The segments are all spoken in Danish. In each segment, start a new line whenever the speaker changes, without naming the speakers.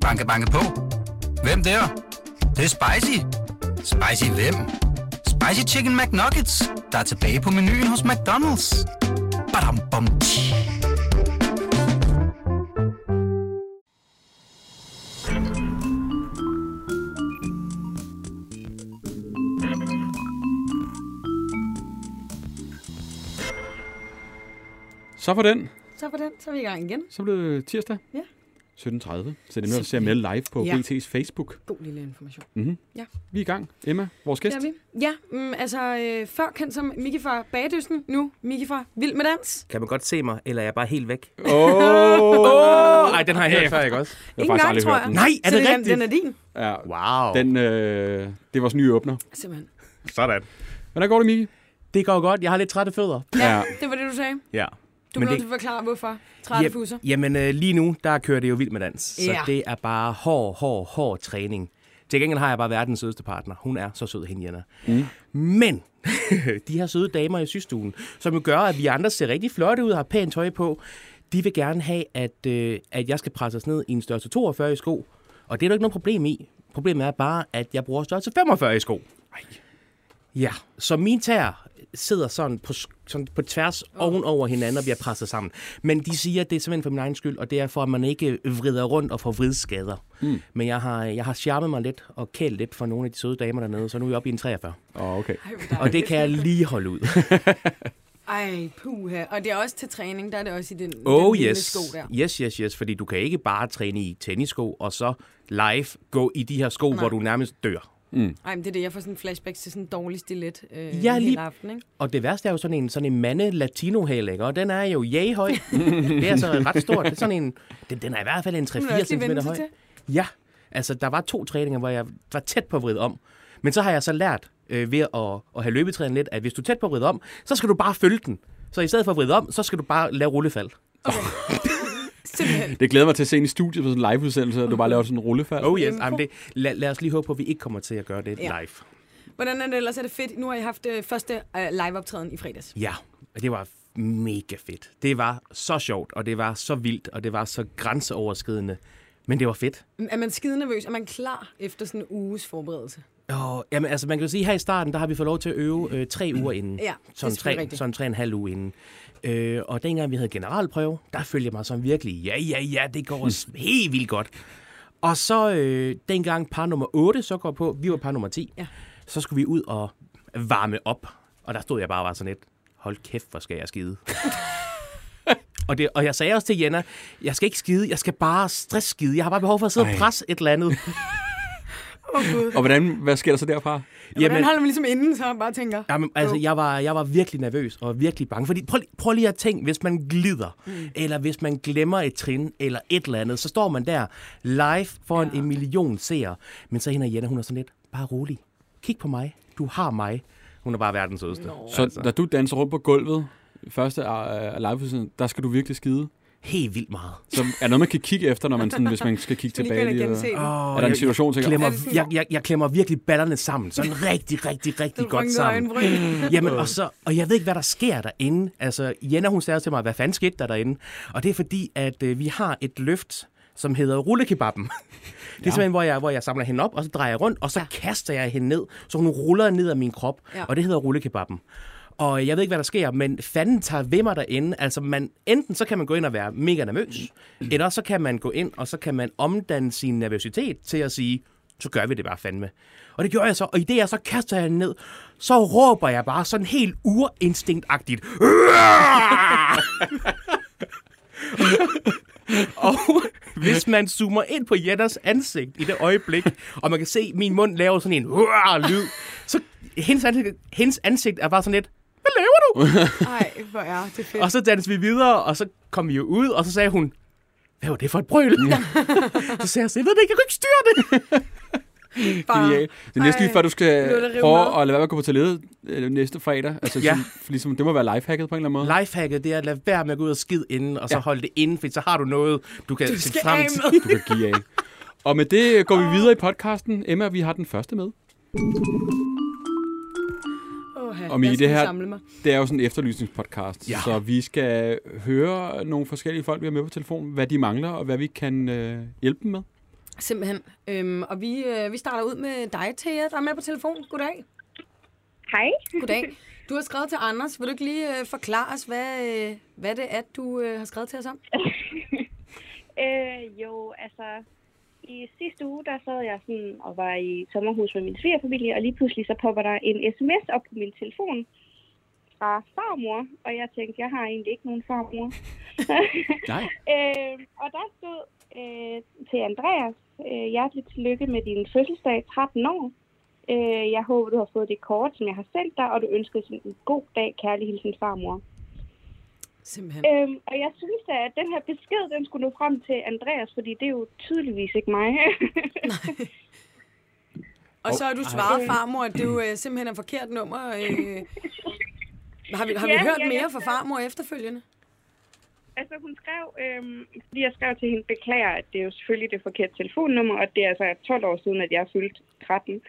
Banke, banke på. Hvem der? Det, er? det er spicy. Spicy hvem? Spicy Chicken McNuggets, der er tilbage på menuen hos McDonald's. Badum, bom, tji.
Så for den.
Så var den, så er vi i gang igen.
Så blev det tirsdag.
Ja.
17.30. Så det er nemlig at se med live på
Ja.
ja. BT's Facebook.
God lille information.
Mm-hmm.
Ja.
Vi er i gang. Emma, vores
Det
gæst.
er vi. Ja, mm, altså øh, før kendt som Miki fra Bagdysten, nu Miki fra Vild med Dans.
Kan man godt se mig, eller er jeg bare helt væk?
Åh! Oh,
Åh, oh, ej, den har jeg hørt før, ikke også?
jeg
Ikke engang, tror jeg.
den.
Nej, er
så
det
den-
rigtigt?
Den er din,
Ja,
Wow. Den.
den, øh, det er vores nye åbner.
simpelthen.
Sådan.
Hvordan går det, Miki?
Det går godt. Jeg har lidt trætte fødder.
Ja,
Ja.
det var det, du sagde.
Ja.
Du
Men
blev
det-
nødt til at forklare, hvorfor. Trætte yep. fuser.
jamen, øh, lige nu, der kører det jo vildt med dans. Så
Ja.
det er bare hård, hård, hård træning. Til gengæld har jeg bare verdens sødeste partner. Hun er så sød, hende Jenna. Mm. Men de her søde damer i systuen, som jo gør, at vi andre ser rigtig flotte ud og har pænt tøj på, de vil gerne have, at, øh, at jeg skal presse os ned i en størrelse 42 i sko. Og det er der ikke noget problem i. Problemet er bare, at jeg bruger størrelse 45 i sko. Ja, så mine tæer sidder sådan på, sk- sådan på tværs oh. oven over hinanden og bliver presset sammen. Men de siger, at det er simpelthen for min egen skyld, og det er for, at man ikke vrider rundt og får vridskader. Mm. Men jeg har, jeg har charmet mig lidt og kælt lidt for nogle af de søde damer dernede, så nu er vi oppe i en 43.
Åh, okay.
Ej, hvor dejligt.
Og det kan jeg lige holde ud.
Ej, puha. Og det er også til træning, der er det også i den,
Oh
den lille
yes.
sko der.
Yes, yes, yes. Fordi du kan ikke bare træne i tennissko og så live gå i de her sko, Nej. hvor du nærmest dør.
Ej, men det er det, jeg får sådan flashbacks til sådan en dårlig stilet øh,
Ja,
ja, lige...
lige-
aften, ikke?
Og det værste er jo sådan en, sådan en mande latino hælægger, og den er jo jæhøj. det er altså ret stort. Det er sådan en, den, den er i hvert fald en
Det må du
3-4
også lige
cm
vende sig
høj.
til.
Ja, altså der var to træninger, hvor jeg var tæt på at vride om. Men så har jeg så lært øh, ved at, at have løbetrænet lidt, at hvis du er tæt på at vride om, så skal du bare følge den. Så i stedet for at vride om, så skal du bare lave rullefald.
Simpelthen.
Det glæder mig til at se en i studiet på sådan en live-udsendelse, at du bare laver sådan en rullefald.
Oh yes, Jamen, det, lad, lad os lige håbe på, at vi ikke kommer til at gøre det
Ja.
ja. live.
Hvordan er det ellers? Er det fedt? Nu har I haft øh, første øh, liveoptræden i fredags.
Ja, og det var mega fedt. Det var så sjovt, og det var så vildt, og det var så grænseoverskridende. Men det var fedt.
Er man skide nervøs? Er man klar efter sådan en uges forberedelse?
Og, jamen, altså, man kan jo sige, at her i starten, der har vi fået lov til at øve øh, tre uger inden.
Mm. Ja, det er
sådan,
selvfølgelig
tre,
rigtigt.
sådan tre og en halv uge inden. Øh, og dengang vi havde generalprøve, der følte jeg mig som virkelig, ja, ja, ja, det går os helt vildt godt. Og så øh, dengang par nummer 8 så går på, vi var par nummer 10,
Ja.
så skulle vi ud og varme op. Og der stod jeg bare og var sådan lidt, hold kæft, hvor skal jeg skide. og, det, og jeg sagde også til Jenna, jeg skal ikke skide, jeg skal bare stressskide. Jeg har bare behov for at sidde og
Ej.
presse et eller andet.
Og hvordan, hvad sker der så derfra?
Jamen, Hvordan holder man ligesom inden, så bare tænker?
Jamen, altså, jeg var, jeg var virkelig nervøs og virkelig bange. Fordi prøv, lige- prøv lige at tænke, hvis man glider, mm. eller hvis man glemmer et trin, eller et eller andet, så står man der live foran ja. en million seere. Men så hende og Jenna, hun er sådan lidt, bare rolig. Kig på mig. Du har mig. Hun er bare verdens sødeste.
Så da du danser rundt på gulvet, i første uh, live der skal du virkelig skide.
Helt vildt meget.
Så er der noget, man kan kigge efter, når man sådan, hvis man skal kigge
Skal lige
tilbage?
gå ind og
eller-
gense det?
Oh,
er der en situation,
jeg,
tænker
klemmer,
Er det sådan-
jeg, jeg, jeg klemmer virkelig ballerne sammen. Sådan rigtig, rigtig, rigtig godt sammen.
Øjenbryn.
Jamen, og, så, og jeg ved ikke, hvad der sker derinde. Altså, Jenna, hun sagde også til mig, hvad fanden skete der derinde? Og det er fordi, at øh, vi har et løft, som hedder rullekebaben. Det er simpelthen, hvor jeg, hvor jeg samler hende op, og så drejer jeg rundt, og så ja. kaster jeg hende ned, så hun ruller ned af min krop.
Ja.
Ja. Og det hedder rullekebaben. Og jeg ved ikke, hvad der sker, men fanden tager ved mig derinde. Altså, man, enten så kan man gå ind og være mega nervøs, eller så kan man gå ind, og så kan man omdanne sin nervøsitet til at sige, så gør vi det bare fandme. Og det gjorde jeg så, og i det jeg så kaster jeg hende ned, så råber jeg bare sådan helt urinstinkagtigt. "Uah!" og hvis man zoomer ind på Jennas ansigt i det øjeblik, og man kan se, at min mund laver sådan en lyd, så hendes ansigt, hendes ansigt er bare sådan lidt, hvad laver du?
Ej, hvor er det fedt.
og så dansede vi videre, og så kom vi jo ud, og så sagde hun, hvad var det for et brøl? så sagde jeg, så, jeg ved det ikke, jeg kan ikke styre det.
Bare-
Genial. Det er næsten
Ej,
lige før, du skal
nu er det rive med.
prøve at lade være med at gå på toilettet øh, næste fredag. Altså, ja.
Ja.
sådan, ligesom, det må være lifehacket på en eller anden måde.
Lifehacket, det er at lade være med at gå ud og skide inden, og så
Ja.
ja. holde det inden, for så har du noget, du kan du se
skal
frem
af
til.
med.
Du kan give af. Og med det går vi videre i podcasten. Emma, vi har den første med.
Åha. jeg,
Og Mie,
jeg skal
det her-
samle mig.
Det er jo sådan en efterlysningspodcast,
Ja.
ja. så vi skal høre nogle forskellige folk, vi har med på telefon, hvad de mangler, og hvad vi kan øh, hjælpe dem med.
Simpelthen. Øhm, og vi, øh, vi starter ud med dig, Thea, der er med på telefon. Goddag.
Hej.
Goddag. Du har skrevet til Anders. Vil du ikke lige øh, forklare os, hvad, øh, hvad det er, du øh, har skrevet til os om?
Øh, jo, altså, i sidste uge, der sad jeg sådan og var i sommerhus med min svigerfamilie, og lige pludselig så popper der en sms op på min telefon fra farmor, og jeg tænkte, jeg har egentlig ikke nogen farmor.
Nej.
øh, og der stod øh, til Andreas, øh, hjerteligt tillykke med din fødselsdag, 13 år. Øh, jeg håber, du har fået det kort, som jeg har sendt dig, og du ønsker sådan en god dag, kærlig hilsen farmor.
Simpelthen.
Øhm, og jeg synes da, at den her besked, den skulle nå frem til Andreas, fordi det er jo tydeligvis ikke mig.
Og så har du svaret, farmor, at det jo øh, simpelthen er forkert nummer. Øh. Har vi, har vi
Ja,
hørt
ja, ja.
mere fra farmor efterfølgende?
altså hun skrev, øhm, fordi jeg skrev til hende, beklager, at det er jo selvfølgelig det forkerte telefonnummer, og det er altså 12 år siden, at jeg fyldte 13.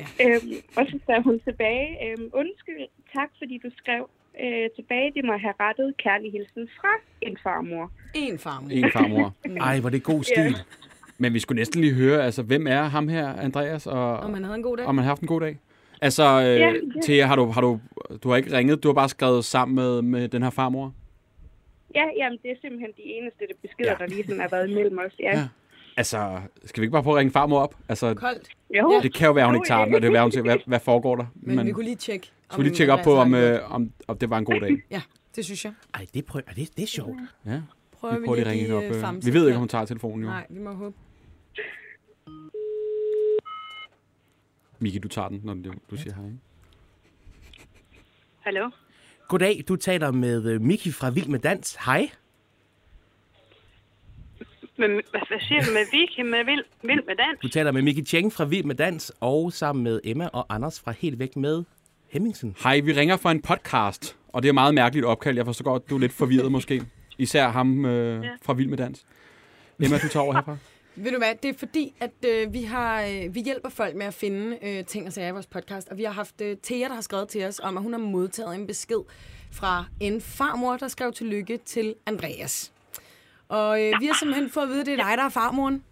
Ja. Øhm, og så skrev hun tilbage, øhm, undskyld, tak fordi du skrev øh, tilbage, det må have rettet kærlig hilsen fra en farmor.
En farmor.
En farmor.
Ej, hvor er det god stil.
Men vi skulle næsten lige høre, altså, hvem er ham her, Andreas, og
Om han havde en god dag.
om man har haft en god dag? Altså, øh, ja,
Ja,
ja.
ja.
Thea, har du, har du, du har ikke ringet, du har bare skrevet sammen med, med den her farmor?
Ja, jamen det er simpelthen de eneste det beskeder, ja. der lige sådan har været imellem os. Ja.
Ja.
ja.
Altså, skal vi ikke bare prøve at ringe farmor op? Altså,
Koldt.
Jo.
Ja.
det kan jo være, hun ikke tager den, og det kan være, hun siger, hvad, hvad foregår der?
Men, Men vi kunne lige tjekke.
skal vi lige
om
tjekke op på,
Andreas
om,
har det
øh, om, om det var en god dag?
godt. Ja, det synes jeg.
Ej, det, prøv, ej, det, det er sjovt.
Ja,
Prøver
vi
vi,
prøver lige at
lige
ringe hende
at
op.
øh,
øh.
famse
Vi ved
den
ikke,
her.
om hun tager telefonen jo.
Nej, vi må håbe.
Miki, du tager den, når du, du siger hej. ikke?
Hallo?
Goddag, du taler med øh, Miki fra Vild med Dans. Hej.
Men, hvad siger du med Vicky med vild, vild med dans?
Du taler med Miki Cheng fra Vild med Dans, og sammen med Emma og Anders fra Helt Væk med Hemmingsen.
Hej, vi ringer for en podcast, og det er et meget mærkeligt opkald. Jeg forstår godt, du er lidt forvirret måske. Især ham øh, fra Vild med Dans. Emma, du tager over herfra.
Ved du hvad, det er fordi, at øh, vi, har, øh, vi hjælper folk med at finde øh, ting og sager i vores podcast, og vi har haft øh, Thea, der har skrevet til os om, at hun har modtaget en besked fra en farmor, der skrev tillykke til Andreas. Og øh, vi har simpelthen fået at vide, at det er dig, der er farmoren.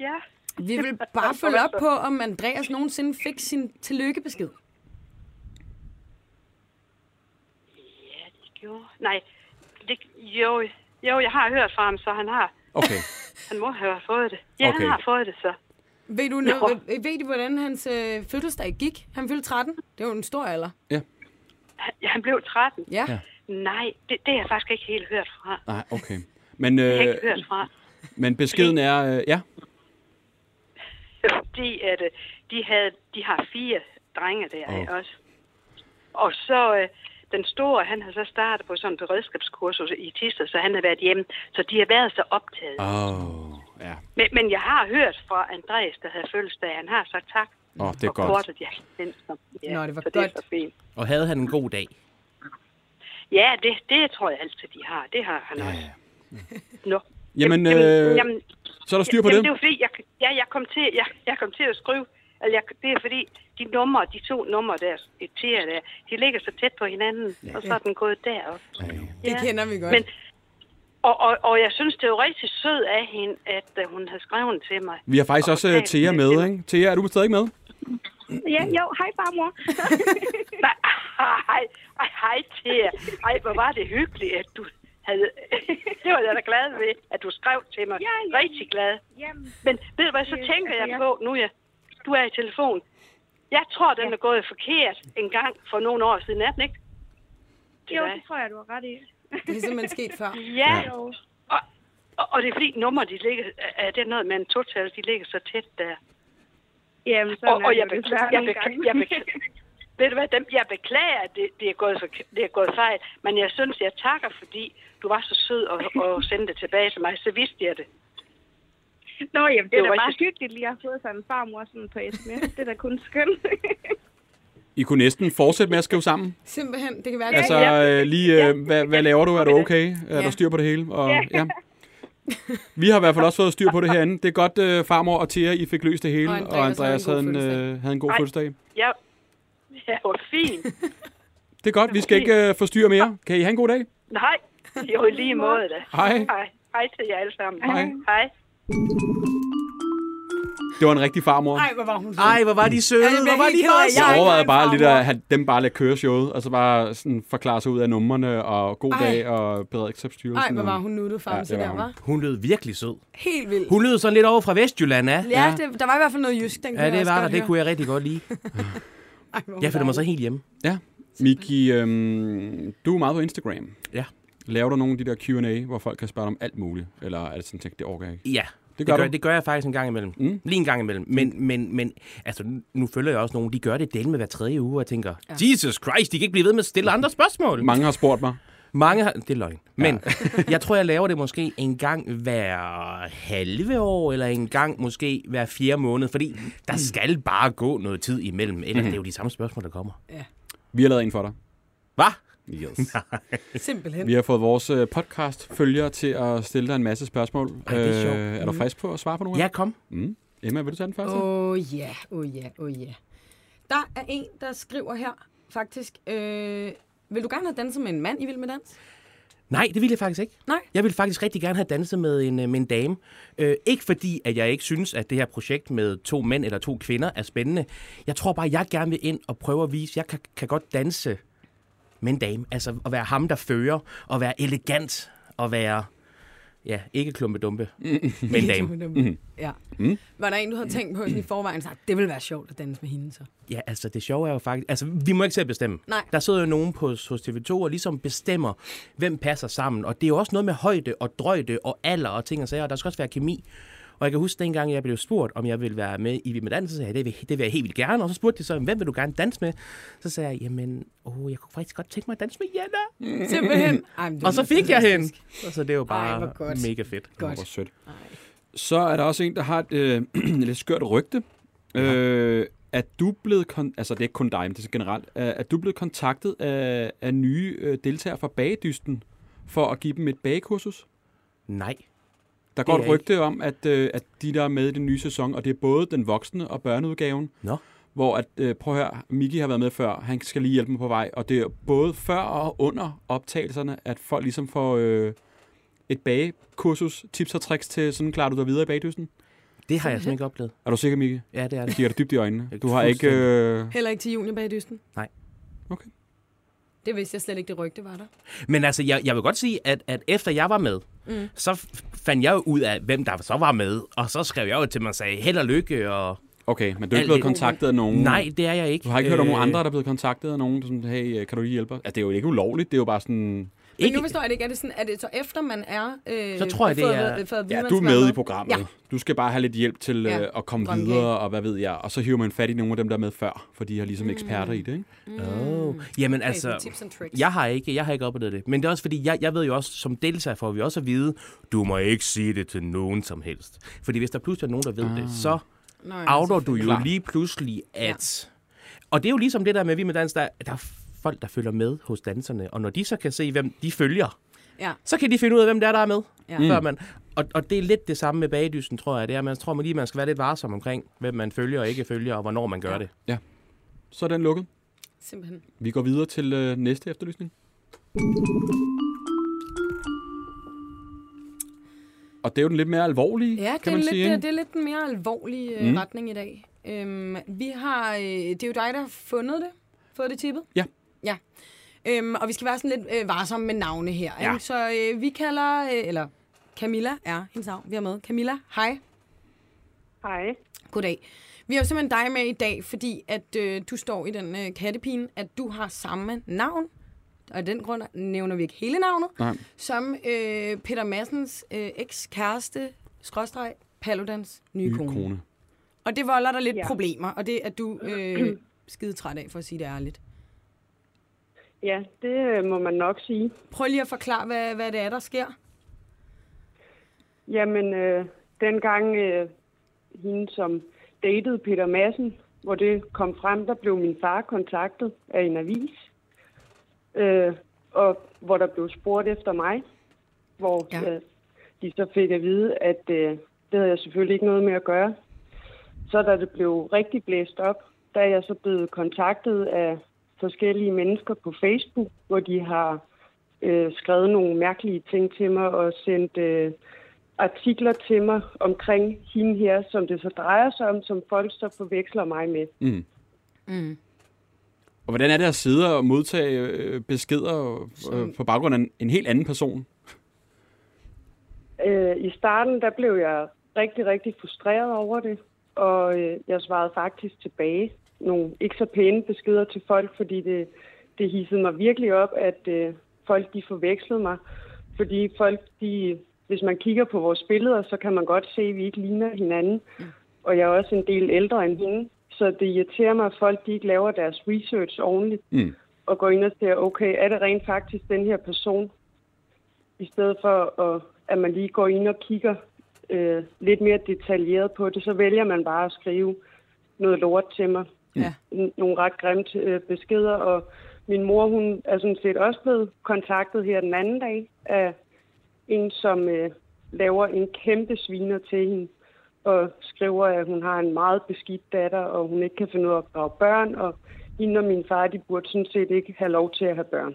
Ja.
Vi vil bare følge op på, om Andreas nogensinde fik sin tillykkebesked.
Ja, det gjorde... Nej, det, jo, jo, jeg har hørt fra ham, så han har...
Okay.
Han må have fået det. Ja, okay.
Okay.
han har fået det, så.
Ved du, noget, øh, ved du hvordan hans øh, fødselsdag gik? Han fyldte 13. Det var en stor alder.
Han, han blev 13.
Ja.
Ja.
ja.
Nej, det, det har jeg faktisk ikke helt hørt fra.
Nej, okay. Men,
Jeg har
øh,
ikke hørt fra.
men beskeden er, øh, ja,
Fordi at, øh, de, havde, de har fire drenge der
Åh.
oh. også. Og så øh, den store, han har så startet på sådan en beredskabskursus i Tisted, så han har været hjemme. Så de har været så optaget. Oh.
Åh, ja.
Men, men jeg har hørt fra Andreas, der havde fødselsdag. Han har sagt tak.
Åh, det er
og
godt.
kortet, jeg har sendt ham. ja,
Nå, det var
så Det er
godt.
så fint.
Og havde han en god dag?
Ja, det, det tror jeg altid, de har. Det har han også. Nå.
Jamen, øh,
jamen,
så er der styr på
jamen,
det.
det var fordi, jeg, ja, jeg, kom til, jeg, jeg kom til at skrive, eller jeg, det er fordi, de numre, de to numre der, de tier der, de ligger så tæt på hinanden, ja. og så er den gået derop.
Det kender vi godt.
Men, og, og, og jeg synes, det er jo rigtig sød af hende, at øh, hun har skrevet til mig.
Vi har faktisk
Og
også øh,
talt
Thea med, ikke? Thea, er du stadig med?
Ja, jo, hej farmor. Nej, hej, hej, hej til jer. Ej, hvor var det hyggeligt, at du havde... det var jeg da glad ved, at du skrev til mig.
Ja, ja.
Rigtig glad.
Jamen,
Men ved du hvad, så
Det-
tænker
altså,
jeg
jeg-
på, nu jeg, du er i telefon. Jeg tror, den er gået forkert en gang for nogle år siden, er den ikke? Til
jo,
dig?
det tror jeg, du har ret i.
Det er simpelthen sket før.
Ja,
Jo.
og, og, og det er fordi nummer, de ligger, er det er noget med en total, de ligger så tæt der.
Jamen, sådan
Og,
er
og
det
jeg,
jo
beklager,
desværre
jeg,
nogle
beklager,
gange.
jeg beklager, ved du hvad, dem, jeg beklager, at det, det, er gået for, det er gået fejl, men jeg synes, jeg takker, fordi du var så sød og, og sendte det tilbage til mig, så vidste jeg det.
Nå, jamen, det
Det
er
var
da
bare-
bare hyggeligt lige at have fået sådan en farmor sådan på sms. Det er da kun skønt.
I kunne næsten fortsætte med at skrive sammen.
Simpelthen, det kan være,
Altså,
det
øh, lige, øh, hvad, hvad laver du? Er du okay? Er
Ja.
der styr på det hele? Og, ja. Vi har i hvert fald også fået styr på det herinde. Det er godt, øh, farmor og Thea, I fik løst det hele,
Og
og
Andreas
Andreas havde en,
havde en god
øh, havde en god
Ej.
fødselsdag.
Jeg,
Ja, og fint.
Det er godt, vi skal ikke øh, forstyrre mere. Kan I have en god dag?
Nej, jo i lige måde da.
Hej.
Hej. Hej til jer alle sammen.
Hej.
Hej.
Det var en rigtig farmor.
Nej, hvor var hun sød.
Ej, hvor var de søde.
Ja, det bliver
hvor var
helt ked af.
de
Jeg
bare
Jeg er ikke
overvejede
engang
bare lidt
farmor.
at have dem bare lade køre showet, og så bare sådan forklare sig ud af numrene, og god
Ej.
dag, og beredskabsstyrelsen.
Ej, hvor var
og-
hun nuttet frem
Ja,
ja,
det
til
var
der,
hun.
var.
Hun lød virkelig sød.
Helt vildt.
Hun lød sådan lidt over fra Vestjylland, ja.
Ja, det, der var i hvert fald noget jysk, den kunne
Ja,
jeg
det
også
var der.
godt
Det
høre.
kunne jeg rigtig godt lide.
Ej, hvor hun
Jeg følte mig så
dejlig.
helt hjemme.
Ja. Miki, øhm, du er meget på Instagram.
Ja.
Laver du nogle af de der Q&A, hvor folk kan spørge dig om alt muligt? Eller er det sådan, tænkt, det orker jeg ikke?
Ja,
Det
det
gør
gør, det gør,
du.
det gør jeg faktisk en gang imellem. Mm. Lige en gang imellem. Men, men, men altså, nu- nu følger jeg også nogen, de gør det del med hver tredje uge, og jeg tænker, ja. Jesus Christ, de kan ikke blive ved med at stille andre spørgsmål.
Mange har spurgt mig.
Mange har... Det er løgn. Men jeg tror, jeg laver det måske en gang hver halve år, eller en gang måske hver fjerde måned, fordi der skal bare gå noget tid imellem, ellers mm. det er jo de samme spørgsmål, der kommer.
Vi har lavet en for dig.
Hvad?
Yes.
Simpelthen.
Vi har fået vores øh, podcast-følgere til at stille dig en masse spørgsmål. Øh,
Ej, det er sjovt. Mm.
er du frisk på at svare på nogle af
Ja, kom.
dem? Mm. Emma, vil du tage den første?
Åh ja, åh ja, åh ja. Der er en, der skriver her, faktisk. Øh, vil du gerne have danset med en mand i Vild Med Dans?
Nej, det vil jeg faktisk ikke.
Nej.
Jeg ville faktisk rigtig gerne have danset med en, øh, med en dame. Øh, ikke fordi, at jeg ikke synes, at det her projekt med to mænd eller to kvinder er spændende. Jeg tror bare, at jeg gerne vil ind og prøve at vise, at jeg kan, kan godt danse med en dame. Altså at være ham, der fører, og være elegant, og være, ja, ikke klumpedumpe, med en dame.
Mm. Ja.
Mhm.
Mm. Var der en, du havde tænkt på sådan i forvejen, sagt, det ville være sjovt at danse med hende så?
Ja, altså det sjove er jo faktisk... Altså, vi må ikke selv bestemme.
Nej.
Der sidder jo nogen på, hos TV2 og ligesom bestemmer, hvem passer sammen. Og det er jo også noget med højde og drøjde og alder og ting og sager. Og der skal også være kemi. Og jeg kan huske, dengang jeg blev spurgt, om jeg ville være med i Vild med Dans, så sagde jeg, det vil, det vil jeg helt vildt gerne. Og så spurgte de så, hvem vil du gerne danse med? Så sagde jeg, jamen, åh, jeg kunne faktisk godt tænke mig at danse med Jana.
Simpelthen. Ej, men det
Og så
lyder
fik jeg hende.
fantastisk.
Og så det er jo
Ej,
bare
hvor godt.
mega fedt.
Åh,
Godt.
Hvor sødt. Så er der også en, der har et øh, lidt skørt rygte. Øh, at du er blevet, kon- altså det er ikke kun dig, men det er så generelt, øh, at du er blevet kontaktet af, af nye øh, deltagere fra bagedysten for at give dem et bagekursus.
Nej.
Der går
er
et rygte om, at, øh, at de der er med i den nye sæson, og det er både den voksne og børneudgaven,
Nå.
hvor at, øh, prøv at høre, Miki har været med før, han skal lige hjælpe mig på vej, og det er både før og under optagelserne, at folk ligesom får øh, et bagekursus, tips og tricks til, sådan klarer du dig videre i bagdysten.
Det har jeg simpelthen ikke oplevet.
Er du sikker, Mikke?
Ja, det er
Jeg
det.
kigger dig dybt i øjnene.
Jeg
Du har ikke... Øh...
Heller ikke til junior bag dysten?
Nej.
Okay.
Det vidste jeg slet ikke, det rygte var der.
Men altså, jeg, jeg vil godt sige, at, at efter jeg var med, mm. så f- fandt jeg jo ud af, hvem der så var med. Og så skrev jeg jo til mig og sagde, held og lykke. Og...
Okay, men du er
Alt
ikke blevet
det-
kontaktet af nogen...
Nej, Øh. det er jeg ikke.
Mm. Du har ikke hørt om nogen andre, der er blevet kontaktet af nogen, der sådan, hey, øh, kan du lige hjælpe os? Altså, det er jo ikke ulovligt, det er jo bare sådan...
Men
Ikke,
nu forstår jeg det ikke. Er det, sådan, er det så efter, man er... Øh,
Så tror jeg, det
fået,
er-
øh, fået at vide,
Ja,
man
du er
skal være
med i programmet.
Ja.
Du skal bare have lidt hjælp til
Ja,
øh, at komme
drømmekage.
videre, og hvad ved jeg. Og så hiver man fat i nogle af dem, der er med før, for de er ligesom
Mm.
eksperter i det, ikke?
Oh. Jamen
Okay, så
altså,
tips and tricks.
jeg har ikke, jeg har ikke oplevet det. Men det er også fordi, jeg, jeg ved jo også, som deltager får vi også at vide, du må ikke sige det til nogen som helst. Fordi hvis der pludselig er nogen, der ved ah. det, så
Nå, ja,
outer du jo
Klar.
lige pludselig, at... Og det er jo ligesom det der med, vi med dans, der, der er folk, der følger med hos danserne. Og når de så kan se, hvem de følger,
Ja.
så kan de finde ud af, hvem der er, der er med.
Ja.
Ja.
Mm.
Før man, og, og det er lidt det samme med bagdysen, tror jeg. Det er, man tror man lige, man skal være lidt varsom omkring, hvem man følger og ikke følger, og hvornår man gør
Ja.
det.
Så er den lukket.
Simpelthen.
Vi går videre til øh, næste efterlysning. Og det er jo den lidt mere alvorlige,
Ja, det
kan
er,
man
lidt,
sige,
det, er-
ikke?
det er lidt den mere alvorlige mm. retning i dag. Øhm, vi har, øh, det er jo dig, der har fundet det, fået det tippet.
Ja.
Ja. Øhm, og vi skal være sådan lidt øh, varsomme med navne her.
Ja.
Ikke? Så øh, vi kalder, øh, eller Camilla er hendes navn, vi har med. Camilla, hej.
Hej.
Goddag. Vi har jo simpelthen dig med i dag, fordi at øh, du står i den øh, kattepine, at du har samme navn, og af den grund nævner vi ikke hele navnet,
Nej.
som øh, Peter Massens øh, ekskæreste, skråstreg, Paludans nye,
Nye
nye kone.
kone.
Og det volder dig lidt ja.
Ja.
problemer, og det er du øh, skide træt af, for at sige det ærligt.
Ja, det øh, må man nok sige.
Prøv lige at forklare, hvad, hvad det er, der sker.
Jamen, øh, dengang øh, hende, som datede Peter Madsen, hvor det kom frem, der blev min far kontaktet af en avis, øh, og hvor der blev spurgt efter mig, hvor
Ja.
ja. øh, de så fik at vide, at øh, det havde jeg selvfølgelig ikke noget med at gøre. Så da det blev rigtig blæst op, der er jeg så blevet kontaktet af forskellige mennesker på Facebook, hvor de har øh, skrevet nogle mærkelige ting til mig og sendt øh, artikler til mig omkring hende her, som det så drejer sig om, som folk så forveksler mig med.
Og hvordan er det at sidde og modtage øh, beskeder øh, på baggrund af en, en helt anden person?
Øh, I starten, der blev jeg rigtig, rigtig frustreret over det, og øh, jeg svarede faktisk tilbage nogle ikke så pæne beskeder til folk, fordi det, det hissede mig virkelig op, at øh, folk de forvekslede mig. Fordi folk, de, hvis man kigger på vores billeder, så kan man godt se, at vi ikke ligner hinanden. Og jeg er også en del ældre end hende, så det irriterer mig, at folk de ikke laver deres research ordentligt
Mm.
og går ind og siger, okay, er det rent faktisk den her person, i stedet for at, at man lige går ind og kigger øh, lidt mere detaljeret på det, så vælger man bare at skrive noget lort til mig.
Ja.
N- Nogle ret grimme øh, beskeder, og min mor, hun er sådan set også blevet kontaktet her den anden dag af en, som øh, laver en kæmpe sviner til hende og skriver, at hun har en meget beskidt datter, og hun ikke kan finde ud af at drage børn, og hende og min far, de burde sådan set ikke have lov til at have børn.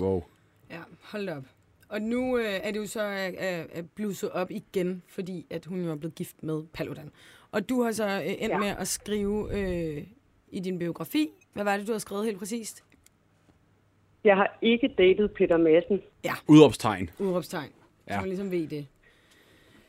Wow.
Ja, hold da op. Og nu øh, er det jo så øh, øh, blusset op igen, fordi at hun jo er blevet gift med Paludan. Og du har så øh, endt ja.
Ja.
med at skrive øh, i din biografi. Hvad var det, du har skrevet helt præcist?
Jeg har ikke datet Peter Madsen.
Udopstegn.
Udråbstegn. Ja.
Ja.
Så man ligesom ved det.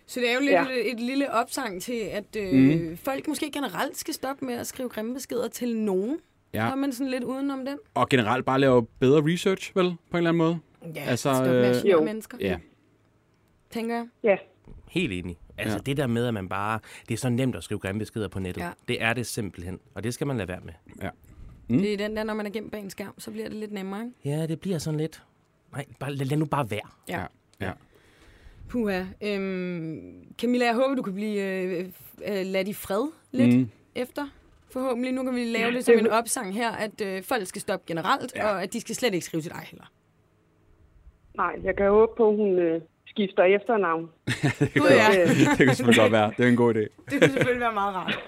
Så det er jo lidt ja.
Ja.
et, et lille opsang til, at øh,
Mhm.
mm. folk måske generelt skal stoppe med at skrive grimme beskeder til nogen.
Ja.
Så er man sådan lidt udenom den.
Og generelt bare lave bedre research, vel? På en eller anden måde.
Ja,
Altså,
stop med at
øh,
genere
Jo.
mennesker,
Ja.
tænker jeg.
Ja,
Helt enig. Altså
Ja.
ja. det der med, at man bare... Det er så nemt at skrive grimme beskeder på nettet.
Ja.
Ja. Det er det simpelthen. Og det skal man lade være med.
Mhm.
Mm. Det er den der, når man er gemt bag en skærm, så bliver det lidt nemmere, ikke?
Ja, det bliver sådan lidt... Nej, bare, lad, lad nu bare være.
Ja. ja.
Puha. Øhm, Camilla, jeg håber, du kan blive øh, øh, ladt i fred lidt mm. efter. Forhåbentlig. Nu kan vi lave det som en opsang her, at øh, folk skal stoppe generelt, ja. og at de skal slet ikke skrive til dig heller.
nej, jeg kan håbe på, at hun øh, skifter efternavn.
Gud ja,
Øh,
Det kan selvfølgelig godt være. Det er en god idé.
det ville selvfølgelig være meget rart.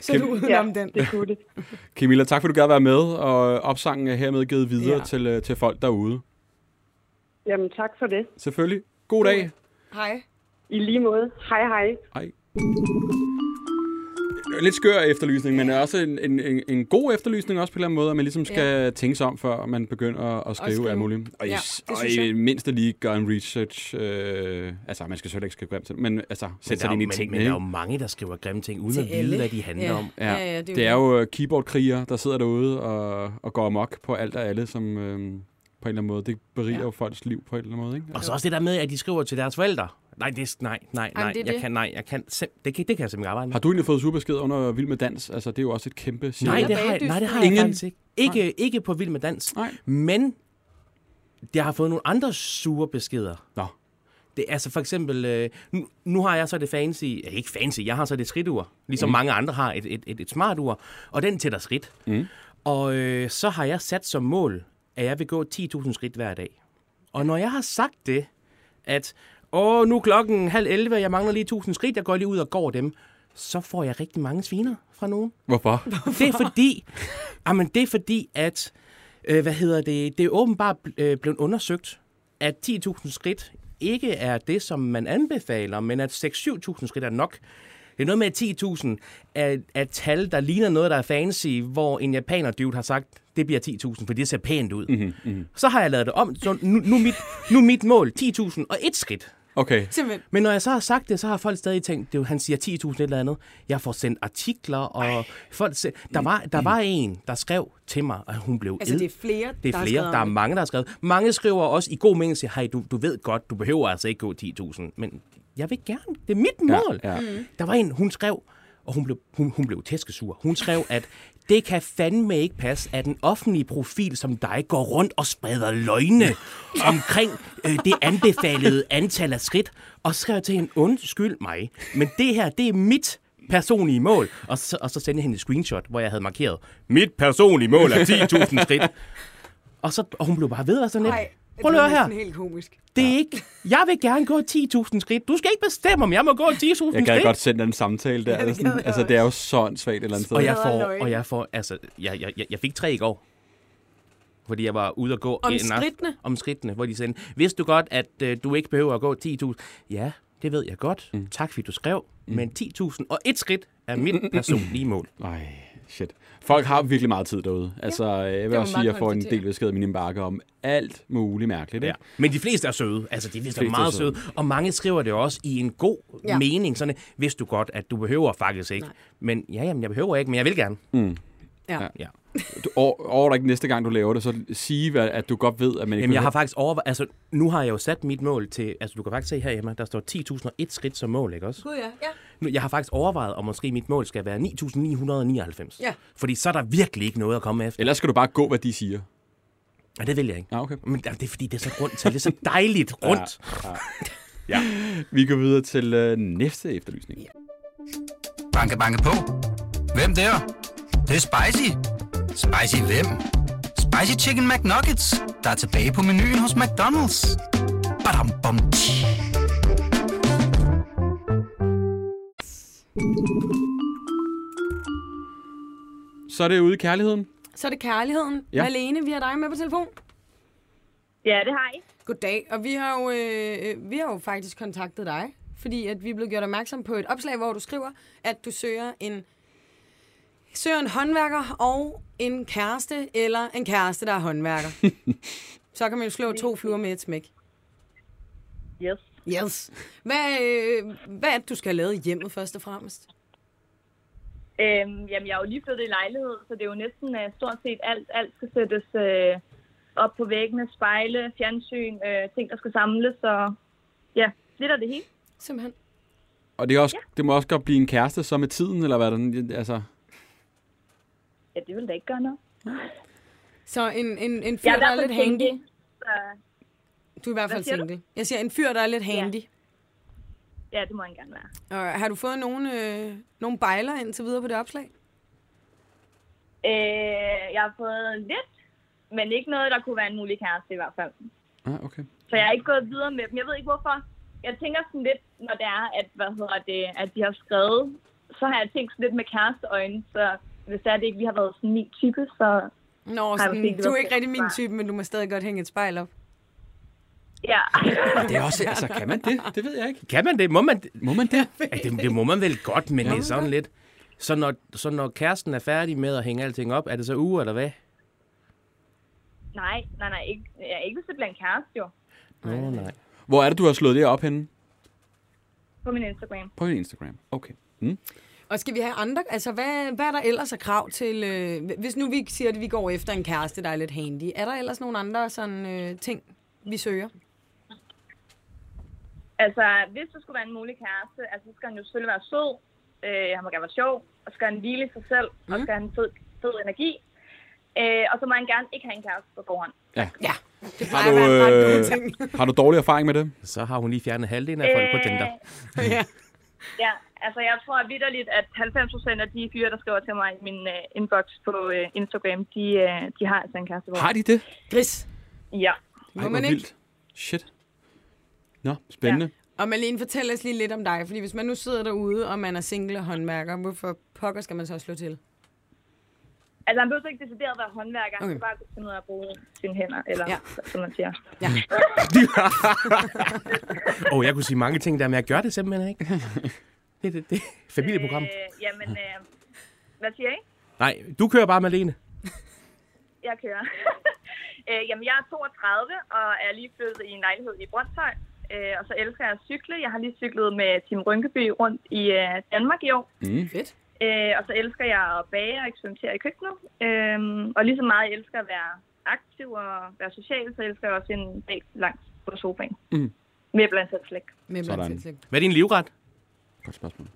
Så er
Kan-
du
ja,
udenom den.
det kunne det.
Camilla, tak fordi du gad være med, og opsangen er hermed givet videre
Ja.
ja. til, øh, til folk derude.
Jamen, tak for det.
Selvfølgelig. God dag.
Hej.
I lige måde. Hej, hej.
Hej. Lidt skør efterlysning, men også en, en, en, en god efterlysning også på en eller anden måde, at man ligesom skal ja. tænke sig om, før man begynder at, at skrive,
skrive.
alt muligt. Og,
Ja,
ja,
det
og
synes
i
jeg.
mindste lige gøre en research. Øh, altså, man skal selvfølgelig ikke skrive grimt til det, men altså, sætte sig
men,
ind
der,
i
er jo-
tingene.
men, men der er jo
ikke?
mange, der skriver grimme ting, uden
Til
at vide,
alle.
hvad de handler
Ja.
om.
Ja,
Ja, ja, det er jo
det er jo øh, keyboardkriger, der sidder derude og, og går amok på alt og alle, som øh, på en eller anden måde, det beriger
Ja.
ja. jo folks liv på en eller anden måde. Ikke?
Og så også det der med, at de skriver til deres forældre. Nej, det, er- nej, nej, nej,
det er
jeg
det.
kan, nej, jeg kan, sim, det, kan, det kan jeg simpelthen ikke arbejde med.
Har du egentlig fået surbesked under Vild med Dans? Altså, det er jo også et kæmpe cirkus.
Nej,
Eller
det har jeg, nej, det har jeg
Ingen?
faktisk ikke. Ikke, ikke på Vild med Dans.
Nej.
Men jeg har fået nogle andre sure beskeder.
Nå.
Det, er altså for eksempel, øh, nu, nu har jeg så det fancy, eh, ikke fancy, jeg har så det skridtur, ligesom mm. mange andre har et, et, et, et smartur, og den tæller skridt. Mm. Og øh, så har jeg sat som mål, at jeg vil gå 10.000 skridt hver dag. Og når jeg har sagt det, at åh, nu er klokken halv 11, og jeg mangler lige 1.000 skridt, jeg går lige ud og går dem, så får jeg rigtig mange sviner fra nogen.
Hvorfor?
Det er fordi, jamen, det er fordi at øh, hvad hedder det, det er åbenbart øh, blevet undersøgt, at 10.000 skridt ikke er det, som man anbefaler, men at 6-7.000 skridt er nok. Det er noget med, at 10.000 er, er et tal, der ligner noget, der er fancy, hvor en japaner dude har sagt, det bliver 10.000, for det ser pænt ud. Mm-hmm, mm-hmm. Så har jeg lavet det om. Så nu, nu, er mit, nu er mit mål 10.000 og et skridt.
Okay.
Simpelthen.
Men når jeg så har sagt det, så har folk stadig tænkt, det, er jo- han siger 10.000 et eller andet. Jeg får sendt artikler, og Ej. folk se, der, var, der var en, der skrev til mig, at hun blev
Mm. Altså,
ed.
det er flere,
det er
har
flere.
skrevet
Der,
om
er
det.
mange, der har skrevet. Mange skriver også i god mening, siger, hej, du, du ved godt, du behøver altså ikke gå 10.000, men jeg vil gerne. Det er mit mål.
ja.
Der var en, hun skrev, og hun blev, hun, hun blev tæskesur. Hun skrev, at det kan fandme ikke passe, at en offentlig profil som dig går rundt og spreder løgne omkring øh, det anbefalede antal af skridt. Og så skrev jeg til hende, undskyld mig, men det her, det er mit personlige mål. Og så, og så sendte jeg hende et screenshot, hvor jeg havde markeret, mit personlige mål er 10.000 skridt. Og, så, og hun blev bare ved og sådan lidt.
Ej.
Prøv lige at
Det
høre
er
her.
næsten helt komisk.
Det er ikke... Jeg vil gerne gå 10.000 skridt. Du skal ikke bestemme, om jeg må gå 10.000 skridt.
Jeg gad godt sende en samtale der. eller
gad
sådan.
jeg
Altså, det er jo sådan svagt et eller andet sted.
Og jeg
Bedre
får,
løgn.
og jeg får, altså, jeg, jeg, jeg, jeg fik tre i går. Fordi jeg var ude at gå...
Om
en aften-
skridtene?
Om skridtene, hvor de sagde, vidste du godt, at øh, du ikke behøver at gå 10.000? Ja, det ved jeg godt. Mm. Tak fordi du skrev. Mm. Men 10.000 og et skridt er mit personlige mål.
Nej, shit. Folk har virkelig meget tid derude. Altså, jeg vil
man
også sige,
bare
at jeg får en
konstatere.
del beskeder af min indbakke om alt muligt mærkeligt.
Ja.
Ikke?
Men de fleste er søde. Altså, de fleste er
fleste er
meget søde.
søde.
Og mange skriver det også i en god ja.
Ja.
mening. Sådan, hvis du godt, at du behøver faktisk ikke. Nej. Men ja, jamen, jeg behøver ikke, men jeg vil gerne.
Ja.
Ja.
Du, over, over dig næste gang, du laver det, så sige, hvad- at du godt ved, at man ikke
Jamen, jeg har faktisk overvejet... Altså, nu har jeg jo sat mit mål til... Altså, du kan faktisk se herhjemme, der står 10.001 skridt som mål, ikke også?
Gud ja. ja.
Nu, jeg har faktisk overvejet, om måske mit mål skal være 9.999.
Ja.
Fordi så er der virkelig ikke noget at komme efter.
Ellers skal du bare gå, hvad de siger.
Ja, det vil jeg ikke.
Ah, okay.
Men jamen, det er fordi, det er så rundt til. Det er så dejligt rundt.
Vi går videre til øh, næste efterlysning.
Banke, banke på. Hvem der? Det, er spicy. Spicy hvem? Spicy Chicken McNuggets, der er tilbage på menuen hos McDonald's. Badum, bom, tji.
Så er det ude i kærligheden.
Så er det kærligheden.
Ja.
Ja. Malene, vi har dig med på telefon.
Ja, det har I.
Goddag, og vi har, jo, øh, øh, vi har jo faktisk kontaktet dig, fordi at vi er blevet gjort opmærksom på et opslag, hvor du skriver, at du søger en, søger en håndværker og en kæreste, eller en kæreste, der er håndværker. Så kan man jo slå to fluer med et smæk.
Yes.
Yes. Hvad, øh, hvad er det, du skal have lavet i hjemmet først og fremmest?
Øhm, jamen, jeg er jo lige flyttet i lejlighed, så det er jo næsten uh, stort set alt. Alt skal sættes uh, op på væggene, spejle, fjernsyn, uh, ting, der skal samles, og ja, lidt af det hele.
Simpelthen.
Og det, er også, det må også godt blive en kæreste, så med tiden, eller hvad den, altså...
Ja, det vil da ikke gøre noget.
Så en, en, en fyr,
Jeg er i
der er
hvert fald
lidt
single,
handy.
så
Du er i hvert fald
siger du?
single. Jeg siger, en fyr, der er lidt handy.
ja, det må han gerne være.
Og har du fået nogle, øh, nogle bejler indtil videre på det opslag?
Øh, jeg har fået lidt, men ikke noget, der kunne være en mulig kæreste i hvert fald.
Ah, okay.
Så jeg er ikke gået videre med dem. Jeg ved ikke hvorfor. Jeg tænker sådan lidt, når det er, at, hvad hedder det, at de har skrevet, så har jeg tænkt sådan lidt med kæresteøjne. Så hvis det er, det ikke lige har været sådan min type, så
Nå,
Ej,
sådan,
måske ikke
du er
lugte
ikke rigtig min
af
type, men du må stadig godt hænge et spejl op.
ja.
Det er også, altså, kan man det? Det ved jeg ikke.
Kan man det? Må man det?
Må man det?
Ja, det, det må man vel godt, men det er sådan lidt... Så når, så når kæresten er færdig med at hænge alting op, er det så uge eller hvad?
nej, nej, nej. Ikke, jeg er ikke hvis det bliver en kæreste, jo.
Nå, nej.
Hvor er det, du har slået det op henne?
På min Instagram.
På din Instagram. Okay. Mm.
Og skal vi have andre? Altså, hvad, hvad er der ellers af krav til... Øh, hvis nu vi siger, at vi går efter en kæreste, der er lidt handy, er der ellers nogle andre sådan, øh, ting, vi søger?
Altså, hvis det skulle være en mulig kæreste, altså, så skal han jo selvfølgelig være sød. Øh, han må gerne være sjov. Og så skal han hvile i sig selv. Mm. Og
Mhm.
så skal han have en fed, fed energi. Øh, og så må han gerne ikke have en kæreste på forhånd.
Ja.
Ja, det
Har
plejer
du,
at være en ret god ting.
øh, har du dårlig erfaring med det?
Så har hun lige fjernet halvdelen af
Øh.
folk på Tinder.
ja.
Ja, altså jeg tror vidderligt, at 90 procent af de fyre, der skriver til mig i min uh, inbox på uh, Instagram, de, uh, de har altså en kæreste.
Har de det?
Gris,
Ja.
må
Ej,
man
hvor
ikke.
vildt. Shit. Nå, spændende.
Og Malene, fortæl os lige lidt om dig, fordi hvis man nu sidder derude, og man er single og håndværker, hvorfor pokker skal man så slå til?
Altså han behøver så ikke decideret at være håndværker, han
Okay.
skal bare kunne finde ud af at bruge sine hænder, eller
Ja.
ja. som man siger.
Åh, oh, jeg kunne sige mange ting der, men jeg gør det simpelthen ikke. Det er det, det. Familieprogram.
Øh, jamen, øh, hvad siger I?
Nej, du kører bare, Malene.
Jeg kører. øh, jamen jeg er 32 og er lige flyttet i en lejlighed i Brøndshøj. Øh, og så elsker jeg at cykle. Jeg har lige cyklet med Tim Rynkeby rundt i øh, Danmark i år.
Mm.
Fedt.
Øh, og så elsker jeg at bage og eksperimentere i køkkenet. Øh, og lige så meget jeg elsker at være aktiv og være social, så elsker jeg også en dag langt på sofaen.
Mm.
Med blandt andet slik.
Med
Sådan.
blandt andet.
Hvad er din livret?
Godt spørgsmål.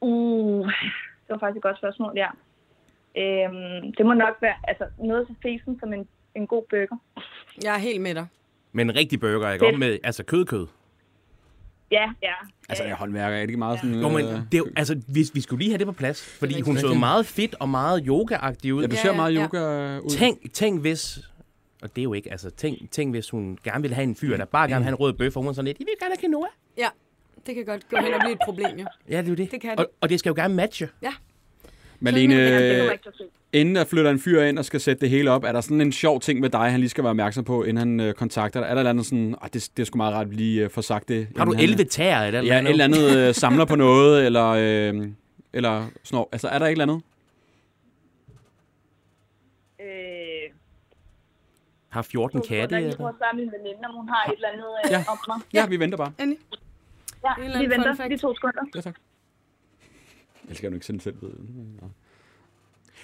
Uh, det var faktisk et godt spørgsmål, ja. Øhm, det må nok være altså, noget så fesen som en, en god burger.
Jeg er helt med dig.
Men en rigtig burger, ikke? Om med, altså kødkød.
Ja, ja.
Altså,
ja,
jeg er håndværker. Er det ikke meget sådan...
Jo, men
øh,
det, er jo- altså, vi, vi skulle lige have det på plads, fordi hun så
rigtigt.
meget fedt og meget yogaagtig
Ja,
ud.
du
Ja,
ser
ja,
meget
ja.
yoga ud.
Tænk, tænk hvis... Og det er jo ikke, altså, tænk, tænk hvis hun gerne ville have en fyr, der bare gerne vil have en rød bøf, og hun er sådan lidt, I vil gerne have quinoa.
Ja, det kan godt gå hen og blive et problem, jo.
Ja, det er jo det.
Det kan
og,
det.
og det skal jo gerne matche.
Malene,
det var ikke så fedt.
inden der flytter en fyr ind og skal sætte det hele op, er der sådan en sjov ting med dig, han lige skal være opmærksom på, inden han øh, kontakter dig? Er der et eller andet sådan, "Ah, det, det er sgu meget rart, at vi lige øh, får sagt det.
Har du
inden han,
11 tæer eller
Ja, et eller andet øh, samler på noget, eller, øh, eller snor. Altså, er der et eller andet?
Øh,
Har 14 katte?
Jeg
Eller? Ah.
prøver at spørge min veninde, om hun har et eller andet øh,
Ja.
om mig.
Ja, vi venter bare.
Endelig.
Ja,
eller
vi
anden
venter
fun fact.
lige to sekunder.
Ja, tak. Jeg skal jo ikke sende selv ved. Nå.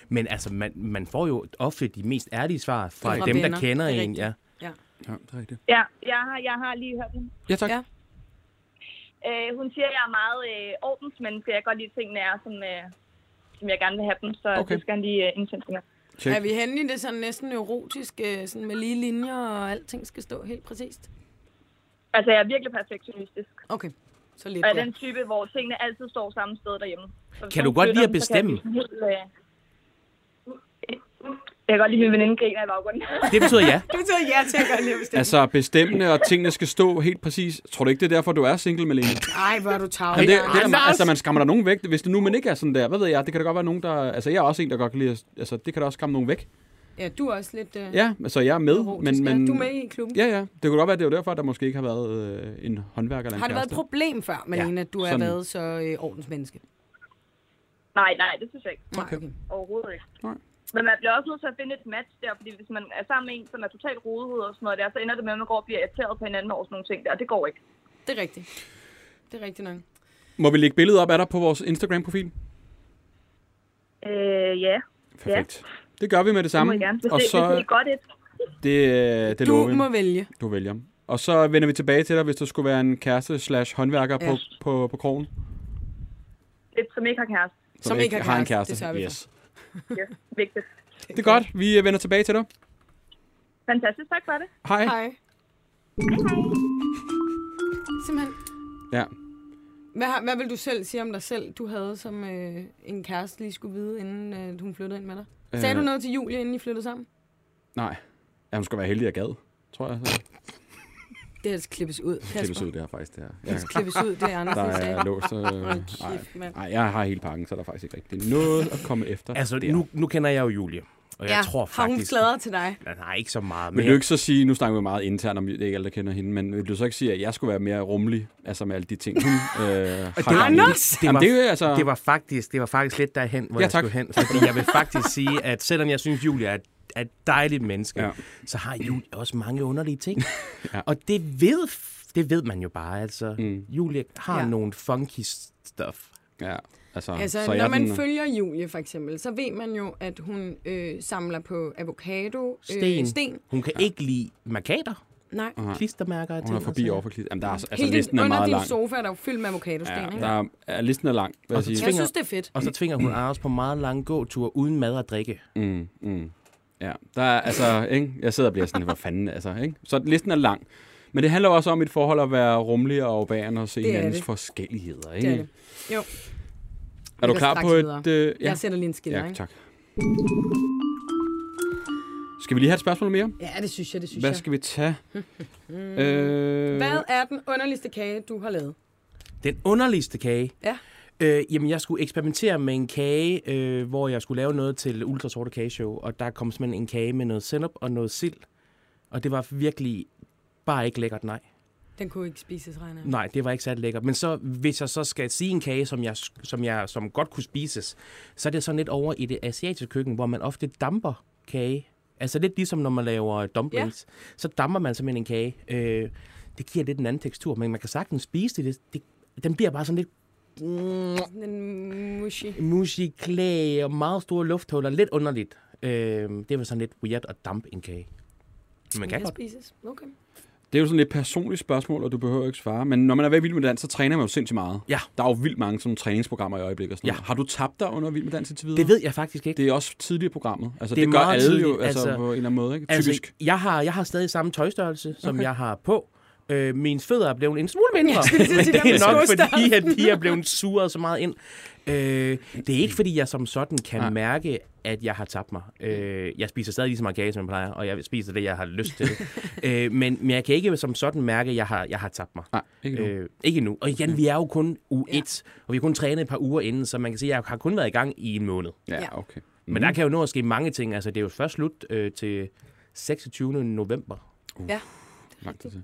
Men altså, man, man får jo ofte de mest ærlige svar fra,
Fra
dem,
venner.
der kender
Det er
en.
rigtigt.
Ja.
Ja, det er rigtigt.
Ja, jeg har, jeg har lige hørt hende.
Ja, tak.
Ja.
Øh, hun siger, at jeg er meget øh, ordensmenneske. Jeg kan godt lide tingene er, som, øh, som jeg gerne vil have dem. Så
Okay.
okay. det skal han lige øh, indsende til mig.
Check.
Er vi henne i det sådan næsten neurotiske, sådan med lige linjer, og alting skal stå helt præcist?
Altså, jeg er virkelig perfektionistisk.
Okay, så lidt.
Og jeg er
ja.
den type, hvor tingene altid står samme sted derhjemme. Så hvis
Kan
nogen
du godt
flytter
lide at
dem, så kan jeg
bestemme?
blive sådan helt, øh, Jeg kan godt lide, at min veninde griner i baggrunden.
Det betyder ja.
Du tager ja til at gøre lige bestemt.
Altså, bestemmende, og tingene skal stå helt præcis. Tror du ikke, det er derfor, du er single, Malene?
Ej, hvor er du tavlig.
Jamen, det,
Anders.
det er, der- altså, man skammer der nogen væk, hvis det nu man ikke er sådan der. Hvad ved jeg, det kan da godt være nogen, der... Altså, jeg er også en, der godt kan lide... at- Altså, det kan da også skamme nogen væk.
Ja, du er også lidt øh,
Ja, altså, jeg er med,
neurotisk.
men... men
ja, du er med i klubben.
Ja, ja. Det kunne godt være, det var derfor, der måske ikke har været øh, en håndværker eller en
Har det været et
kæreste.
problem før, Malene, at du har
sådan.
været så øh, ordensmenneske?
Nej, nej, det synes jeg ikke.
Nej, okay.
Overhovedet ikke.
Nej.
Men man bliver også nødt til at finde et match der, fordi hvis man er sammen med en, som er totalt rodet og sådan noget der, så ender det med, at man går og bliver irriteret på hinanden over sådan nogle ting der, og det går ikke.
Det er rigtigt. Det er rigtigt nok.
Må vi lægge billedet op af dig på vores Instagram-profil?
Øh, ja,
Perfekt. Det gør vi med
det
det
må
samme.
jeg gerne. Hvis,
Mm. og
det,
så,
hvis det er godt et,
det, det
Du
lover vi.
må vælge.
Du vælger. Og så vender vi tilbage til dig, hvis der skulle være en kæreste slash håndværker
Ja.
på, på, på krogen.
et, som ikke har kæreste,
Som,
ikke har
har en
kæreste.
kæreste.
Det sørger vi for.
yes.
det er vigtigt.
det er godt. Vi øh, vender tilbage til dig.
Fantastisk, tak for det.
Hej.
Hej. Simpelthen.
Ja.
Hvad, har- hvad vil du selv sige om dig selv, du havde som øh, en kæreste lige skulle vide, inden øh, hun flyttede ind med dig? Sagde
Øh.
du noget til Julie, inden I flyttede sammen?
Nej. Ja, hun skal være heldig, jeg gad. Tror jeg. Så.
Det her skal klippes ud, Kasper.
Klippes ud, det her faktisk. Det her. Jeg,
Klippes ud, det er
der
Andersen sagde.
er låst. Øh,
Hold kæft, mand.
nej, jeg har hele pakken, så er der faktisk ikke rigtig noget at komme efter.
Altså,
der.
nu, nu kender jeg jo Julie. Og jeg tror
har hun
faktisk...
sladret til dig?
Nej, Nej, ikke så meget.
Vil du ikke så sige, nu snakker vi meget internt om, det er ikke alle, der kender hende, men vil du så ikke sige, at jeg skulle være mere rummelig, altså med alle de ting, hun øh, har gang i?
Anders!
Jamen, det er jo altså...
det var faktisk, det var faktisk lidt derhen, hvor
Ja,
ja, jeg
tak.
skulle hen. Fordi jeg vil faktisk sige, at selvom jeg synes, Julia er et, er et dejligt menneske,
Ja.
ja. så har Julia også mange underlige ting. ja. Og det ved, f- det ved man jo bare. Altså, mm. Julia har
Ja.
ja. nogle funky stuff.
Ja, altså,
Altså,
så
når
jeg
man
den,
følger Julie for eksempel, så ved man jo, at hun øh, samler på avocado,
Sten.
Øh, sten.
Hun kan ja. ikke lide markader,
Nej.
ja. klistermærker og ting.
hun er
og
forbi
sager.
over for klit. Jamen, der er, altså,
Helt
listen
ind,
er
under
meget
din
lang.
sofa er der jo fyldt med avocadosten,
Ja,
ikke?
der er, listen er lang, vil jeg
Og så
sige.
Jeg
tvinger-
synes, det er fedt.
Og så tvinger hun Anders på meget lange gåture uden mad og drikke.
Mm, mm. Ja, der er, altså, ikke? jeg sidder og bliver sådan, hvor fanden, altså, ikke? Så listen er lang. Men det handler også om i et forhold at være rummelig og overbærende og se
Det er
hinandens
det.
forskelligheder,
Det
ikke?
er det. Jo,
Er du
Vi går
klar
straks
på
videre.
et... Øh,
jeg sætter lige en skiller,
ja,
ikke?
tak. Skal vi lige have et spørgsmål mere?
Ja, det synes jeg, det synes
Hvad
jeg.
skal vi tage? øh,
Hvad er den underligste kage, du har lavet?
Den underligste kage.
Ja.
Øh, jamen, jeg skulle eksperimentere med en kage, øh, hvor jeg skulle lave noget til Ultrasorte Kageshow, og der kom simpelthen en kage med noget sennep og noget sild. Og det var virkelig bare ikke lækkert, nej.
Den kunne ikke spises, regner jeg.
Nej, det var ikke særlig lækkert. Men så, hvis jeg så skal sige en kage, som jeg, som jeg som godt kunne spises, så er det sådan lidt over i det asiatiske køkken, hvor man ofte damper kage. Altså lidt ligesom når man laver dumplings. Ja. Så damper man simpelthen en kage. Øh, det giver lidt en anden tekstur, men man kan sagtens spise det. det, det den bliver bare sådan lidt
Sådan En mushi.
mushy klæ og meget store lufthuller. Lidt underligt. Øh, det var sådan lidt weird at dampe en kage. Men man kan
kan
godt.
spises. Okay.
det er jo sådan lidt personligt spørgsmål, og du behøver ikke svare. Men når man er ved Vild Med Dans, så træner man jo sindssygt meget.
Ja.
Der er jo vildt mange sådan, træningsprogrammer i øjeblikket. Og sådan
Ja.
noget. Har du tabt dig under Vild Med Dans indtil videre?
Det ved jeg faktisk ikke.
Det er også tidligere i programmet. Altså, det,
Det er
det gør
meget
alle jo
tidligt,
altså,
altså-
på en eller anden måde. Ikke?
Altså,
Typisk.
jeg har, jeg har stadig samme tøjstørrelse, som jeg har på. Øh, mine fødder er blevet en smule mindre,
skulle lige til at
men
sige,
det
hvad
er
med
nok
skostørrelsen?
fordi, at de er blevet suret så meget ind. Øh, det er ikke, fordi jeg som sådan kan Nej. mærke, at jeg har tabt mig. Øh, jeg spiser stadig lige så meget kage, som jeg plejer, og jeg spiser det, jeg har lyst til. øh, men, men jeg kan ikke som sådan mærke, at jeg har, jeg har tabt mig.
Nej, ikke nu. Øh,
Øh, ikke nu. Og igen, vi er jo kun u 1, og vi har kun trænet et par uger inden, så man kan sige, at jeg har kun været i gang i en måned.
ja, okay.
Men der kan jo nå at ske mange ting. Altså, det er jo først slut øh, til 26. november.
Ja.
Lang tid til.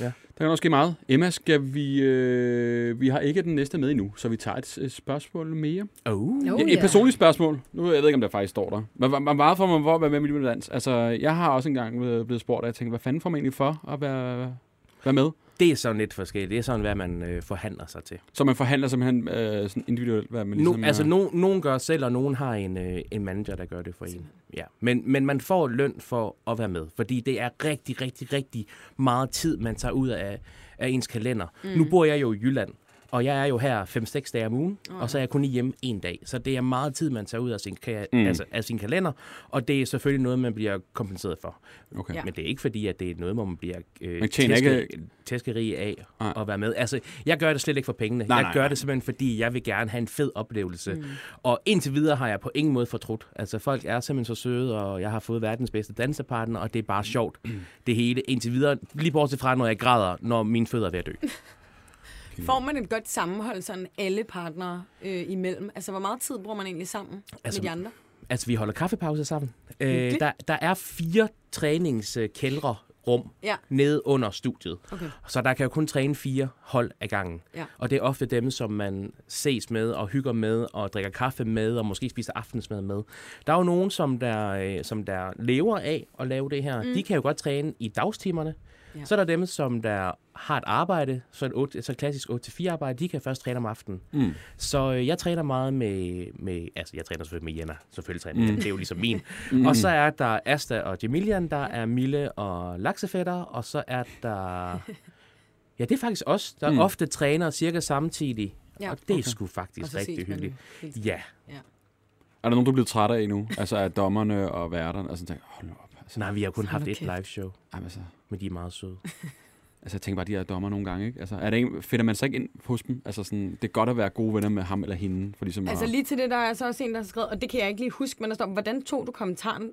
Ja.
Ja. Der kan også ske meget. Emma, skal vi... Øh, vi har ikke den næste med endnu, så vi tager et, et spørgsmål mere.
Oh.
No,
Oh, ja, et personligt spørgsmål. Nu jeg ved ikke, om der faktisk står der. Man, man, man meget for, man hvor være med i Vild Med Dans. Altså, jeg har også engang blevet blevet spurgt, og jeg tænkte, hvad fanden får man egentlig for at være, være med?
Det er sådan lidt forskelligt. Det er sådan, hvad man øh, forhandler sig til.
Så man forhandler simpelthen øh, sådan individuelt, hvad man ligesom...
No, altså,
øh,
no, nogen gør selv, og nogen har en, øh, en manager, der gør det for en. Ja. Men, men man får løn for at være med, fordi det er rigtig, rigtig, rigtig meget tid, man tager ud af, af ens kalender. Mm. Nu bor jeg jo i Jylland, og jeg er jo her 5-6 dage om ugen, oh. og så er jeg kun lige hjemme en dag. Så det er meget tid, man tager ud af sin, ka- mm. altså, af sin kalender, og det er selvfølgelig noget, man bliver kompenseret for.
Okay.
Ja.
Men det er ikke fordi, at det er noget, hvor man bliver øh,
Man tjener
tæske,
ikke-
tæskerig af
Nej.
at være med. Altså, jeg gør det slet ikke for pengene.
Nej,
jeg
nej,
gør
nej.
det simpelthen, fordi jeg vil gerne have en fed oplevelse. Mm. Og indtil videre har jeg på ingen måde fortrudt. Altså, folk er simpelthen så søde, og jeg har fået verdens bedste dansepartner, og det er bare sjovt,
Mm.
det hele. Indtil videre, lige bortset fra, når jeg græder, når mine fødder er ved at dø.
Får man et godt sammenhold sådan alle partnere øh, imellem? Altså, hvor meget tid bruger man egentlig sammen altså,
Altså,
med de andre?
Altså, vi holder kaffepause sammen. Øh,
Hyggeligt.
der, der er fire træningskældre rum
Ja.
nede under studiet.
Okay.
Så der kan jo kun træne fire hold ad gangen.
Ja.
Og det er ofte dem, som man ses med og hygger med og drikker kaffe med og måske spiser aftensmad med. Der er jo nogen, som der, øh, som der lever af at lave det her. Mm. De kan jo godt træne i dagstimerne.
Ja.
Ja. Så er der dem, som der har et arbejde, så et, 8, så et klassisk 8-4 arbejde, de kan først træne om aftenen. Mm. Så øh, jeg træner meget med, med, altså jeg træner selvfølgelig med Jenna, selvfølgelig træner mm. det er jo ligesom min. Mm. Og så er der Asta og Jamilian, der er Mille og Laksefætter, og så er der Ja, det er faktisk os, der mm. ofte træner cirka samtidig.
Ja.
Ja, og det okay. er sgu
Og
faktisk
så ses
rigtig
man
hyggeligt.
hele tiden.
Ja,
Er der nogen, du er blevet træt af endnu? Altså af dommerne og værterne? Altså, tænker, jeg, hold nu op. Altså,
nej, vi har kun
Hold
haft
nu
et
kæft.
live show,
ej, men altså,
men de er meget søde.
altså, jeg tænker bare, de her dommer nogle gange, ikke? Altså, er det ikke, finder man sig ikke ind hos dem? Altså, sådan, det er godt at være gode venner med ham eller hende, for ligesom
Altså
at...
lige til det, der er så også en, der har skrevet, og det kan jeg ikke lige huske, men der står, hvordan tog du kommentaren?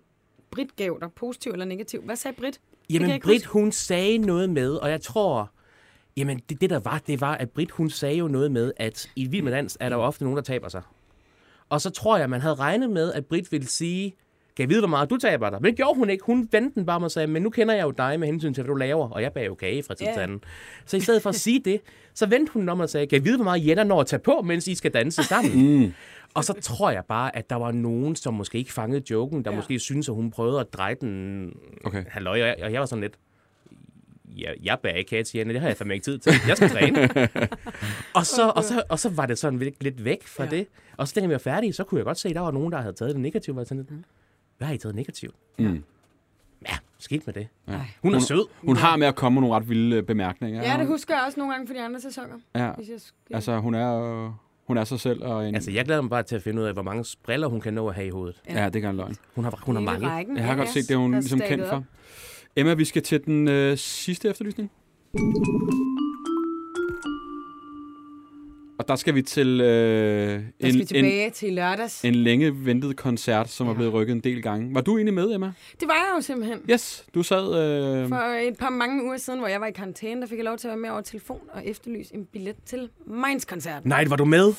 Britt gav dig, positiv eller negativ. Hvad sagde Britt? kan jeg
Jamen,
ikke
Britt,
huske.
hun sagde noget med, og jeg tror... Jamen, det, det der var, det var, at Britt, hun sagde jo noget med, at i Vild med Dans er der jo ofte nogen, der taber sig. Og så tror jeg, man havde regnet med, at Britt ville sige, kan jeg vide, hvor meget du taber dig? Men det gjorde hun ikke. Hun vendte den bare om og sagde, men nu kender jeg jo dig med hensyn til, hvad du laver, og jeg bager jo kage fra tid til
Ja.
anden. Så i stedet for at sige det, så vendte hun den om og sagde, kan jeg vide, hvor meget Jenna når at tage på, mens I skal danse sammen? Mm. Og så tror jeg bare, at der var nogen, som måske ikke fangede joken, der
Ja.
ja. måske synes, at hun prøvede at dreje den
Okay.
halløj, og jeg, og jeg var sådan lidt, ja, jeg bærer ikke kage til Jenny, det har jeg fandme ikke tid til. Jeg skal træne. og, så, og, så, og så var det sådan lidt, lidt væk fra
Ja.
ja. det. Og så da vi var færdige, så kunne jeg godt se, at der var nogen, der havde taget det negativt. Og jeg sådan lidt, hvad har I taget negativt?
Mm.
Ja, skidt med det.
Ja.
Hun er sød.
Hun har med at komme med nogle ret vilde øh, bemærkninger.
Ja, det husker jeg også nogle gange fra de andre sæsoner.
Ja.
Hvis jeg skal...
Altså, hun er, øh, hun er sig selv og en...
Altså, jeg glæder mig bare til at finde ud af, hvor mange briller hun kan nå at have i hovedet.
ja. det gør en løgn.
Hun har, hun har mange.
Rækken.
Jeg har
Ja,
godt
ja.
set det, er hun
Der er
ligesom kendt
staket
for.
op.
Emma, vi skal til den øh, sidste efterlysning. Og der skal vi til øh,
Der skal vi
en,
tilbage til lørdags.
en længe ventet koncert, som ja. er
Ja.
blevet rykket en del gange. Var du egentlig med, Emma?
Det var jeg jo simpelthen.
Yes, du sad... Øh,
For et par mange uger siden, hvor jeg var i karantæne, der fik jeg lov til at være med over telefon og efterlyse en billet til Minds koncert.
Nej, var du med?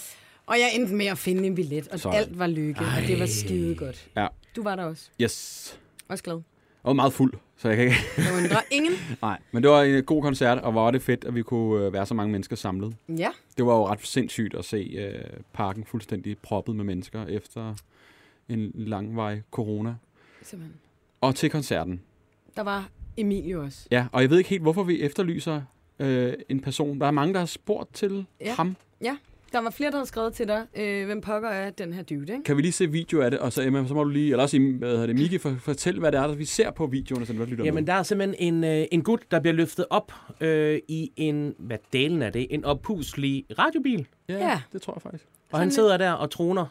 Og jeg endte med at finde en billet,
Sådan.
og Sådan. alt var lykke, Ej. og det var skide godt.
Ja.
Du var der også.
Yes.
Også glad.
Jeg var meget fuld, så jeg kan ikke...
Jeg undrer ingen.
Nej, men det var en god koncert, og hvor var det fedt, at vi kunne øh, være så mange mennesker samlet.
Ja.
Det var jo ret sindssygt at se øh, parken fuldstændig proppet med mennesker efter en langvej corona.
Simpelthen.
Og til koncerten.
Der var Emilio også.
Ja, og jeg ved ikke helt, hvorfor vi efterlyser øh, en person. Der er mange, der har spurgt til
Ja.
ja. ham.
Der var flere, der havde skrevet til dig, øh, hvem pokker er den her dude, ikke?
Kan vi lige se video af det? Og så, Emma, så må du lige, eller også, hvad hedder det, Mikke, for, fortæl, hvad det er, der vi ser på videoen, så du lytter
Jamen,
med.
der er simpelthen en, øh, en gut, der bliver løftet op øh, i en, hvad delen er det, en oppuslig radiobil.
Ja.
det tror jeg faktisk.
Og han
lidt-
sidder der og troner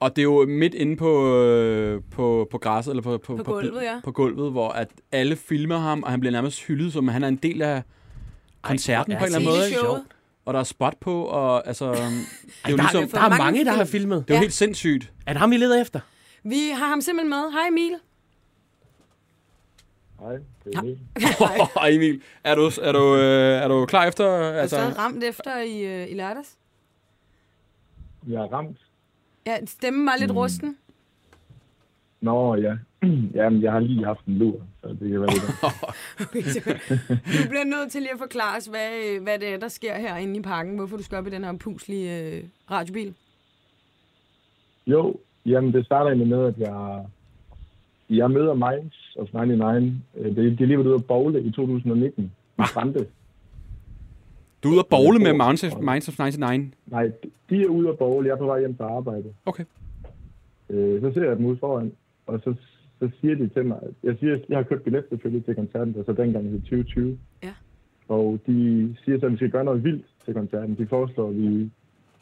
Og det er jo midt inde på, øh, på, på græsset, eller på, på,
På gulvet, ja.
på gulvet, hvor at alle filmer ham, og han bliver nærmest hyldet, som han er en del af koncerten
hvor
på en
er
eller anden
det
måde.
sjovt.
Ikke? og der er spot på, og altså... Det er jo
Der,
ligesom...
er, der er mange, der har filmet.
Det er jo
Ja.
helt sindssygt.
Er det ham, vi leder efter?
Vi har ham simpelthen med. Hej Emil.
Hej, det er Emil.
Åh, Emil, er du, er, du, øh, er du klar efter? Altså,
Altså... Du stadig ramt efter i, øh, i lørdags.
Jeg er ramt.
Ja, stemmen var lidt mm. rusten.
Nå, ja. Jamen, jeg har lige haft en lur, så det kan være det.
du bliver nødt til lige at forklare os, hvad, øh, hvad det er, der sker herinde i parken. Hvorfor du skal op i den her puslige øh, radiobil.
Jo, jamen, det starter egentlig med, at jeg, jeg møder Minds of 99. Øh, Det, de er lige ved ude at bowle i 2019. I Brande.
du er ude at bowle med Minds of, Minds of 99.
Nej, de- de er ude at bowle. Jeg er på vej hjem fra arbejde.
Okay.
Øh, så ser jeg dem ude foran, og så, så siger de til mig, jeg siger, jeg har købt billet selvfølgelig til koncerten, altså dengang i 2020.
Ja.
Og de siger så, at vi skal gøre noget vildt til koncerten. De foreslår, at vi,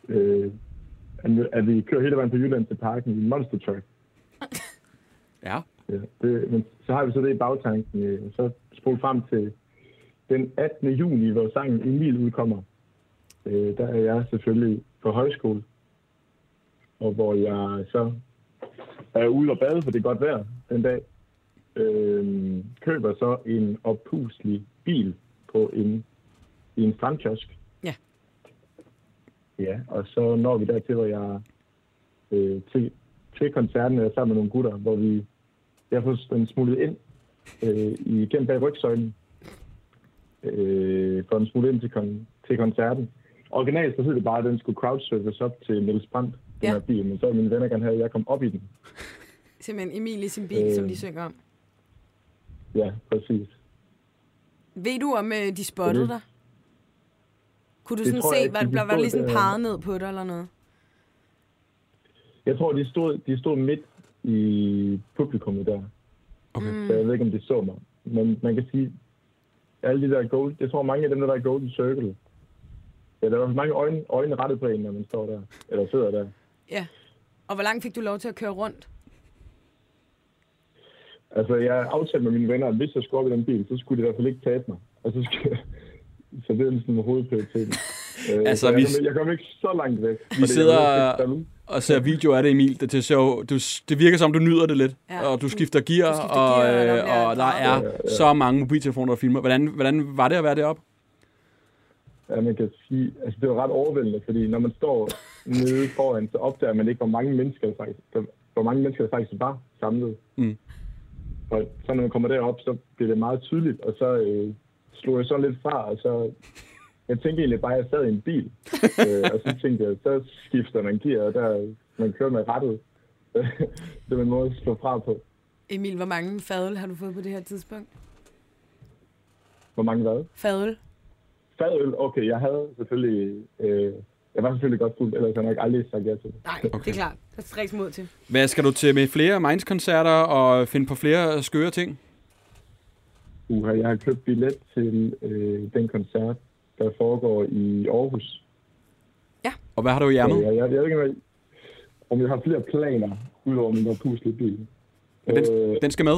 øh, at vi- at vi kører hele vejen fra Jylland til parken i en monster truck.
Ja.
Ja, det, men så har vi så det i bagtanken, øh, og så spole frem til den 18. juni, hvor sangen Emil udkommer. Øh, der er jeg selvfølgelig på højskole, og hvor jeg så er ude og bade, for det er godt vejr den dag. Øh, køber så en oppuslig bil på en, i en strandkiosk.
Ja.
Ja, og så når vi dertil, hvor jeg øh, til, til koncerten er sammen med nogle gutter, hvor vi jeg har fået den smuglet ind øh, igennem bag rygsøjlen. Øh, for den smuglet ind til, kon- til koncerten. Originalt så hed det bare, at den skulle crowdsurfes op til Niels Brandt, den
Ja.
her bil, men så ville mine venner gerne have, at jeg kom op i den.
Simpelthen Emil i sin bil, øh...
Øh.
som de synger om.
Ja, præcis.
Ved du, om øh, de spottede
Det-
dig? Kunne du
det
sådan
tror jeg
se,
ikke,
var,
de
var, var der
forstod
lige sådan
det.
peget ned på dig eller noget?
Jeg tror, de stod, de stod midt i publikummet der.
Okay.
Så jeg ved ikke, om de så mig. Men man kan sige, alle de der gold, jeg tror mange af dem, der er golden circle, ja, der er i hvert fald mange øjne, øjne rettet på en, når man står der, eller sidder der.
Ja. Og hvor langt fik du lov til at køre rundt?
Altså, jeg aftalte med mine venner, at hvis jeg skulle op i den bil, så skulle de i hvert fald ikke tabe mig. Og så skulle så det er sådan med hovedprioriteten. Øh,
Altså,
så jeg,
vi-
kom, jeg kom ikke så langt væk. fordi
Vi
jeg
sidder
var ikke stabil.
og ser videoer af det, Emil. Det, er til sjov. Du, det virker som, du nyder det lidt,
Ja.
ja. og du skifter gear,
Du skifter
og,
gear, og der
øh,
bliver
og der
drejet.
er så mange mobiltelefoner, der filmer. Hvordan, hvordan var det at være deroppe?
Ja, man kan sige, altså det var ret overvældende, fordi når man står nede foran, så opdager man ikke, hvor mange mennesker der faktisk, der, hvor mange mennesker der faktisk var samlet.
Mm.
Og så når man kommer derop, så bliver det meget tydeligt, og så øh, slog jeg så lidt fra, og så jeg tænkte egentlig bare, at jeg sad i en bil, øh, og så tænkte jeg, så skifter man gear, og der, man kører med rettet. det er en måde at slå fra på.
Emil, hvor mange fadøl har du fået på det her tidspunkt?
Hvor mange hvad?
Fadøl?
Fadøl, okay, jeg havde selvfølgelig, øh, jeg var selvfølgelig godt fuld, ellers havde jeg nok aldrig sagt ja til det.
Nej, okay. det er klart. Der er straks mod til.
Hvad skal du til med flere Minds-koncerter og finde på flere skøre ting?
Uha, jeg har købt billet til øh, den koncert, der foregår i Aarhus.
Og hvad har du i
Ja,
ærmet?
jeg, jeg ved ikke, om jeg- om jeg har flere planer, udover min der puslige bil.
Men
Øh,
Den, den skal med.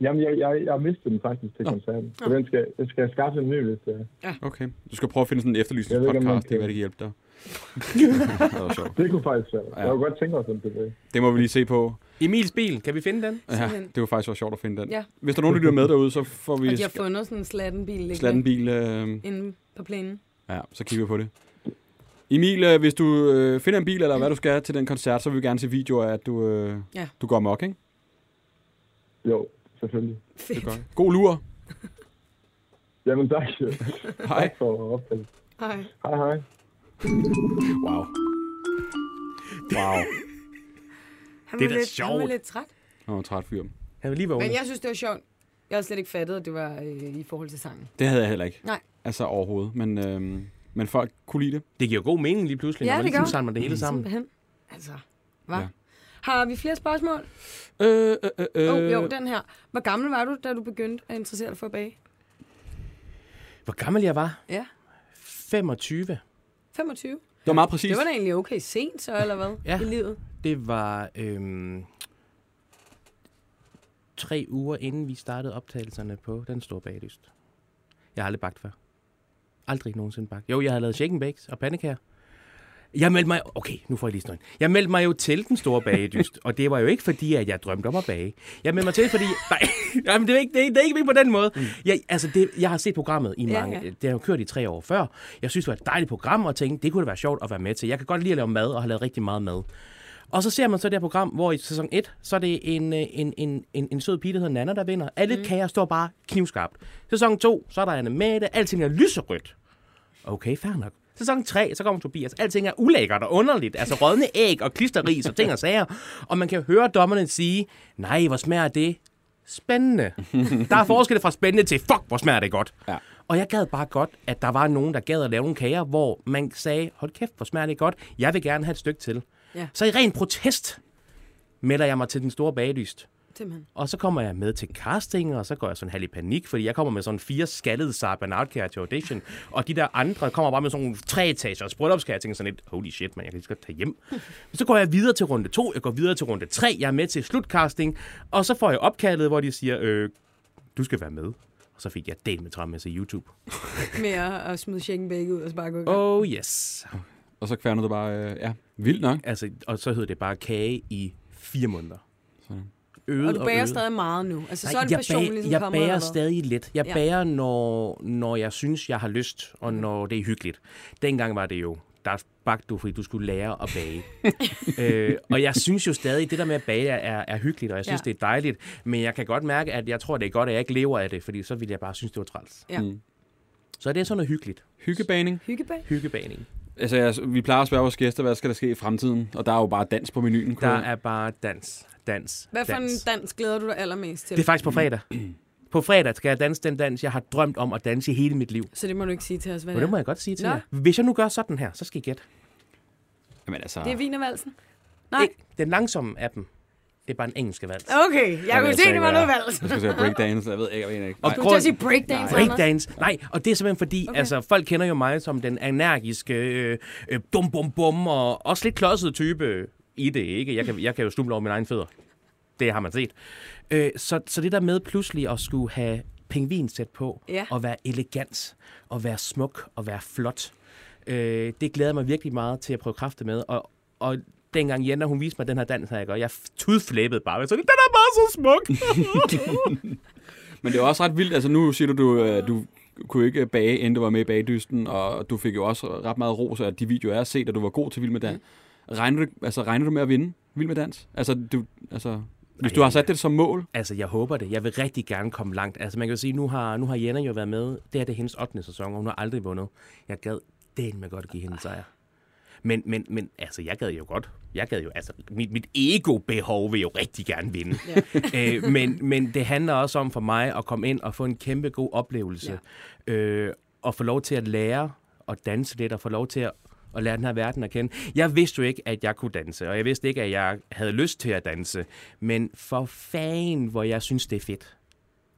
jamen, jeg, jeg, jeg mistede den faktisk til koncerten, så den skal, den skal jeg skaffe en ny, hvis det er.
Okay. Du skal prøve at finde sådan en
Jeg ved ikke, om man
efterlysningspodcast. Det kan være, det kan hjælpe
kan-
dig. det, var sjovt.
Det kunne faktisk være. Ja. Jeg kunne godt tænke mig sådan det.
det må vi lige se på.
Emils bil, kan vi finde den?
Ja, det var faktisk også sjovt at finde den.
Ja.
Hvis der er nogen, der lytter med derude, så får
Og
vi
de har fundet sådan en slattenbil liggende
slat en bil. Øh,
inde på plænen.
ja, så kigger vi på det. Emil, øh, hvis du øh, finder en bil, eller hvad du skal til den koncert, så vil vi gerne se videoer af, at du, øh,
Ja.
ja. du går mok, ikke?
Jo, selvfølgelig.
Det gør jeg. God lur.
Jamen tak.
Hej.
tak for opdagelsen.
Hej.
Hej hej.
Wow. Wow.
Han
Det er
var lidt, Han
da
var
sjovt.
lidt træt.
Han var en træt fyr.
Han vil lige være
Men
jeg...
jeg synes, det var sjovt. Jeg havde slet ikke fattet, at det var øh, i forhold til sangen.
Det havde jeg heller ikke.
Nej.
Altså overhovedet. Men, øh, men folk kunne lide det.
Det giver god mening lige pludselig,
Ja,
når man
det
ligesom
gør. Mm.
samler det hele sammen.
Simpelthen. Altså, hvad? Ja.
Ja.
Har vi flere spørgsmål?
Øh, øh, øh,
Åh, øh... oh, jo, den her. Hvor gammel var du, da du begyndte at interessere dig for at bage?
Hvor gammel jeg var?
Ja.
25.
25?
Det var meget præcist.
Det var da egentlig okay sent så, eller hvad?
Ja.
I livet?
Det var øhm, tre uger inden vi startede optagelserne på Den Store Baglyst. Jeg har aldrig bagt før. Aldrig nogensinde bagt. Jo, jeg havde lavet chicken bakes og pandekager. Jeg meldte mig... Okay, nu får jeg lige snøjen. Jeg meldte mig jo til den store bagedyst, og det var jo ikke fordi, at jeg drømte om at bage. Jeg meldte mig til, fordi... Nej, jamen, det, er ikke, det, er, det er ikke på den måde. Jeg, altså, det, jeg har set programmet i
Mm. Ja,
mange...
ja.
Det har jo kørt i tre år før. Jeg synes, det var et dejligt program, og tænkte, det kunne da være sjovt at være med til. Jeg kan godt lide at lave mad, og har lavet rigtig meget mad. Og så ser man så det her program, hvor i sæson 1, så er det en, øh, en, en, en, en sød pige, der hedder Nana, der vinder. Alle mm. kager står bare knivskarpt. Sæson 2, så er der Anne Mette, alting er lyserødt. Okay, fair nok. Sæson 3, så kommer Tobias. Alting er ulækkert og underligt. Altså rådne æg og klisterris og ting og sager. Og man kan høre dommerne sige, nej, hvor smager det? Spændende. Der er forskel fra spændende til, fuck, hvor smager det godt.
Ja.
Og jeg gad bare godt, at der var nogen, der gad at lave nogle kager, hvor man sagde, hold kæft, hvor smager det godt. Jeg vil gerne have et stykke til.
Ja.
Så i ren protest melder jeg mig til den store baglyst.
Simpelthen.
Og så kommer jeg med til casting, og så går jeg sådan halv i panik, fordi jeg kommer med sådan fire skaldede Sarah Bernard til audition, og de der andre kommer bare med sådan nogle tre etager og sprøjtopskærer, jeg tænker sådan lidt, holy shit, man, jeg kan lige så godt tage hjem. Men så går jeg videre til runde to, jeg går videre til runde tre, jeg er med til slutcasting, og så får jeg opkaldet, hvor de siger, øh, du skal være med. Og så fik jeg del med travlt med til YouTube.
Med at, at smide chicken bake ud og så bare gå i gang.
Oh yes.
Og så kværner du bare, øh, ja, vildt nok.
Altså, og så hed det bare kage i fire måneder.
Sådan.
Øget
Og du bager
øget.
stadig meget nu. Altså, så er
Nej,
en
jeg,
passion
bag-
ligesom
jeg
kommet,
bager
eller hvad?
stadig lidt. Jeg
Ja. Mhm.
ja. bager, når, når jeg synes, jeg har lyst, og når det er hyggeligt. Dengang var det jo, der bagte du, fordi du skulle lære at bage. øh, og jeg synes jo stadig, det der med at bage er, er, er hyggeligt, og jeg synes,
Ja.
ja. det er dejligt. Men jeg kan godt mærke, at jeg tror, det er godt, at jeg ikke lever af det, fordi så ville jeg bare synes, det var træls.
Ja.
Mm.
Så det er sådan noget hyggeligt.
Hyggebaning.
Hyggebag?
Hyggebaning.
Altså, jeg, vi plejer at spørge vores gæster, hvad skal der ske i fremtiden? Og der er jo bare dans på menuen.
Der
kunne jeg-
er bare dans, dans,
Hvad for
dans.
en dans glæder du dig allermest til?
Det er faktisk på fredag. På fredag skal jeg danse den dans, jeg har drømt om at danse i hele mit liv.
Så det må du ikke sige til os, hvad
Men
det
det må
er.
jeg godt sige til
Nå.
jer. Hvis jeg nu gør sådan her, så skal I gætte.
Jamen, altså,
Det er vinervalsen? Nej.
Ikke den langsomme af dem. Det er bare en engelsk vals.
Okay, jeg kunne
jeg
se,
så
det
ikke,
var
hvad
noget
det
vals.
jeg skal sige breakdance, jeg ved ikke, jeg ved ikke.
Og
Nej.
Du
Grund-
til at sige breakdance, Anders.
Breakdance. Nej, og det er simpelthen fordi,
Okay.
okay. altså folk kender jo mig som den energiske, øh, øh, dum bum bum, og også lidt klodsede type i det, ikke? Jeg kan, jeg kan jo stumle over mine egne fødder. Det har man set. Øh, så, så det der med pludselig at skulle have pingvinsæt på,
Ja.
og være elegant, og være smuk, og være flot, øh, det glæder jeg mig virkelig meget til at prøve kræfte med. Og, og dengang Jenna, hun viste mig den her dans her, ikke? og jeg tudflæppede bare. Så den er bare så smuk!
Men det er også ret vildt. Altså, nu siger du, du, øh, du kunne ikke bage, inden du var med i bagdysten, og du fik jo også ret meget ros af de videoer, jeg har set, at du var god til Vild med Dans.
Mm.
Regner du, altså, regner du med at vinde Vild med Dans? Altså, du, altså hvis du har sat det som mål,
Altså, jeg håber det. Jeg vil rigtig gerne komme langt. Altså, man kan jo sige, nu har, nu har Jenna jo været med. Det her det er hendes 8. sæson, og hun har aldrig vundet. Jeg gad den med godt at give hende en sejr. Men, men, men altså, jeg gad jo godt. Jeg gad jo, altså, mit, mit ego-behov vil jo rigtig gerne vinde. Ja. øh, men, men det handler også om for mig at komme ind og få en kæmpe god oplevelse. Ja. Øh, og få lov til at lære at danse lidt, og få lov til at, at lære den her verden at kende. Jeg vidste jo ikke, at jeg kunne danse, og jeg vidste ikke, at jeg havde lyst til at danse. Men for fan, hvor jeg synes, det er fedt.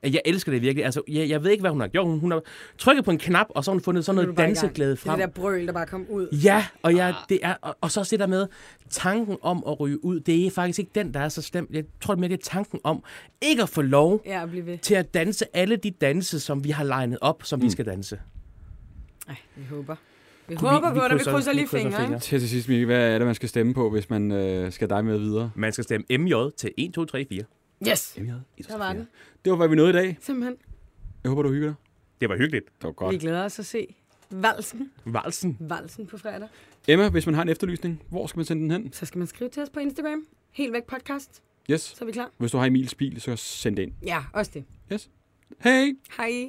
Jeg elsker det virkelig. Altså, jeg, jeg ved ikke, hvad hun har gjort. Hun, hun har trykket på en knap, og så har hun fundet sådan
Nu er du
noget
bare i gang.
danseglæde frem.
Det er det der brøl, der bare kom ud.
Ja, og, jeg, det er, og, og så også det der med tanken om at ryge ud. Det er faktisk ikke den, der er så slem. Jeg tror mere, det er tanken om ikke at få lov
Ja, at blive ved.
til at danse alle de danse, som vi har legnet op, som mm. vi skal danse.
Ej, vi håber. Vi håber på det, vi krydser lige fingre. ikke?
til til sidst, Mikke, hvad er det, man skal stemme på, hvis man øh, skal dig med videre?
Man skal stemme MJ til 1, 2, 3, 4.
Yes, der
Der
var den.
Det var, hvad vi nåede i dag.
Simpelthen.
Jeg håber, du hygger dig.
Det var hyggeligt.
Det var
Vi
godt.
glæder os at se valsen.
Valsen.
Valsen på fredag.
Emma, hvis man har en efterlysning, hvor skal man sende den hen?
Så skal man skrive til os på Instagram. Helt væk podcast.
Yes.
Så er vi klar.
Hvis du har Emils bil, så send det ind.
Ja, også det.
Yes. Hej!
Hej.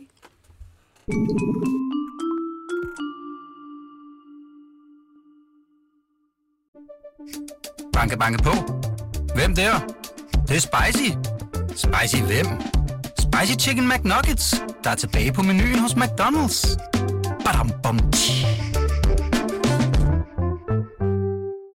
Banke, banke på. Hvem der? Det, det er spicy. Spicy hvem? Spicy Chicken McNuggets, der er tilbage på menuen hos McDonald's. Badum, bom, tji.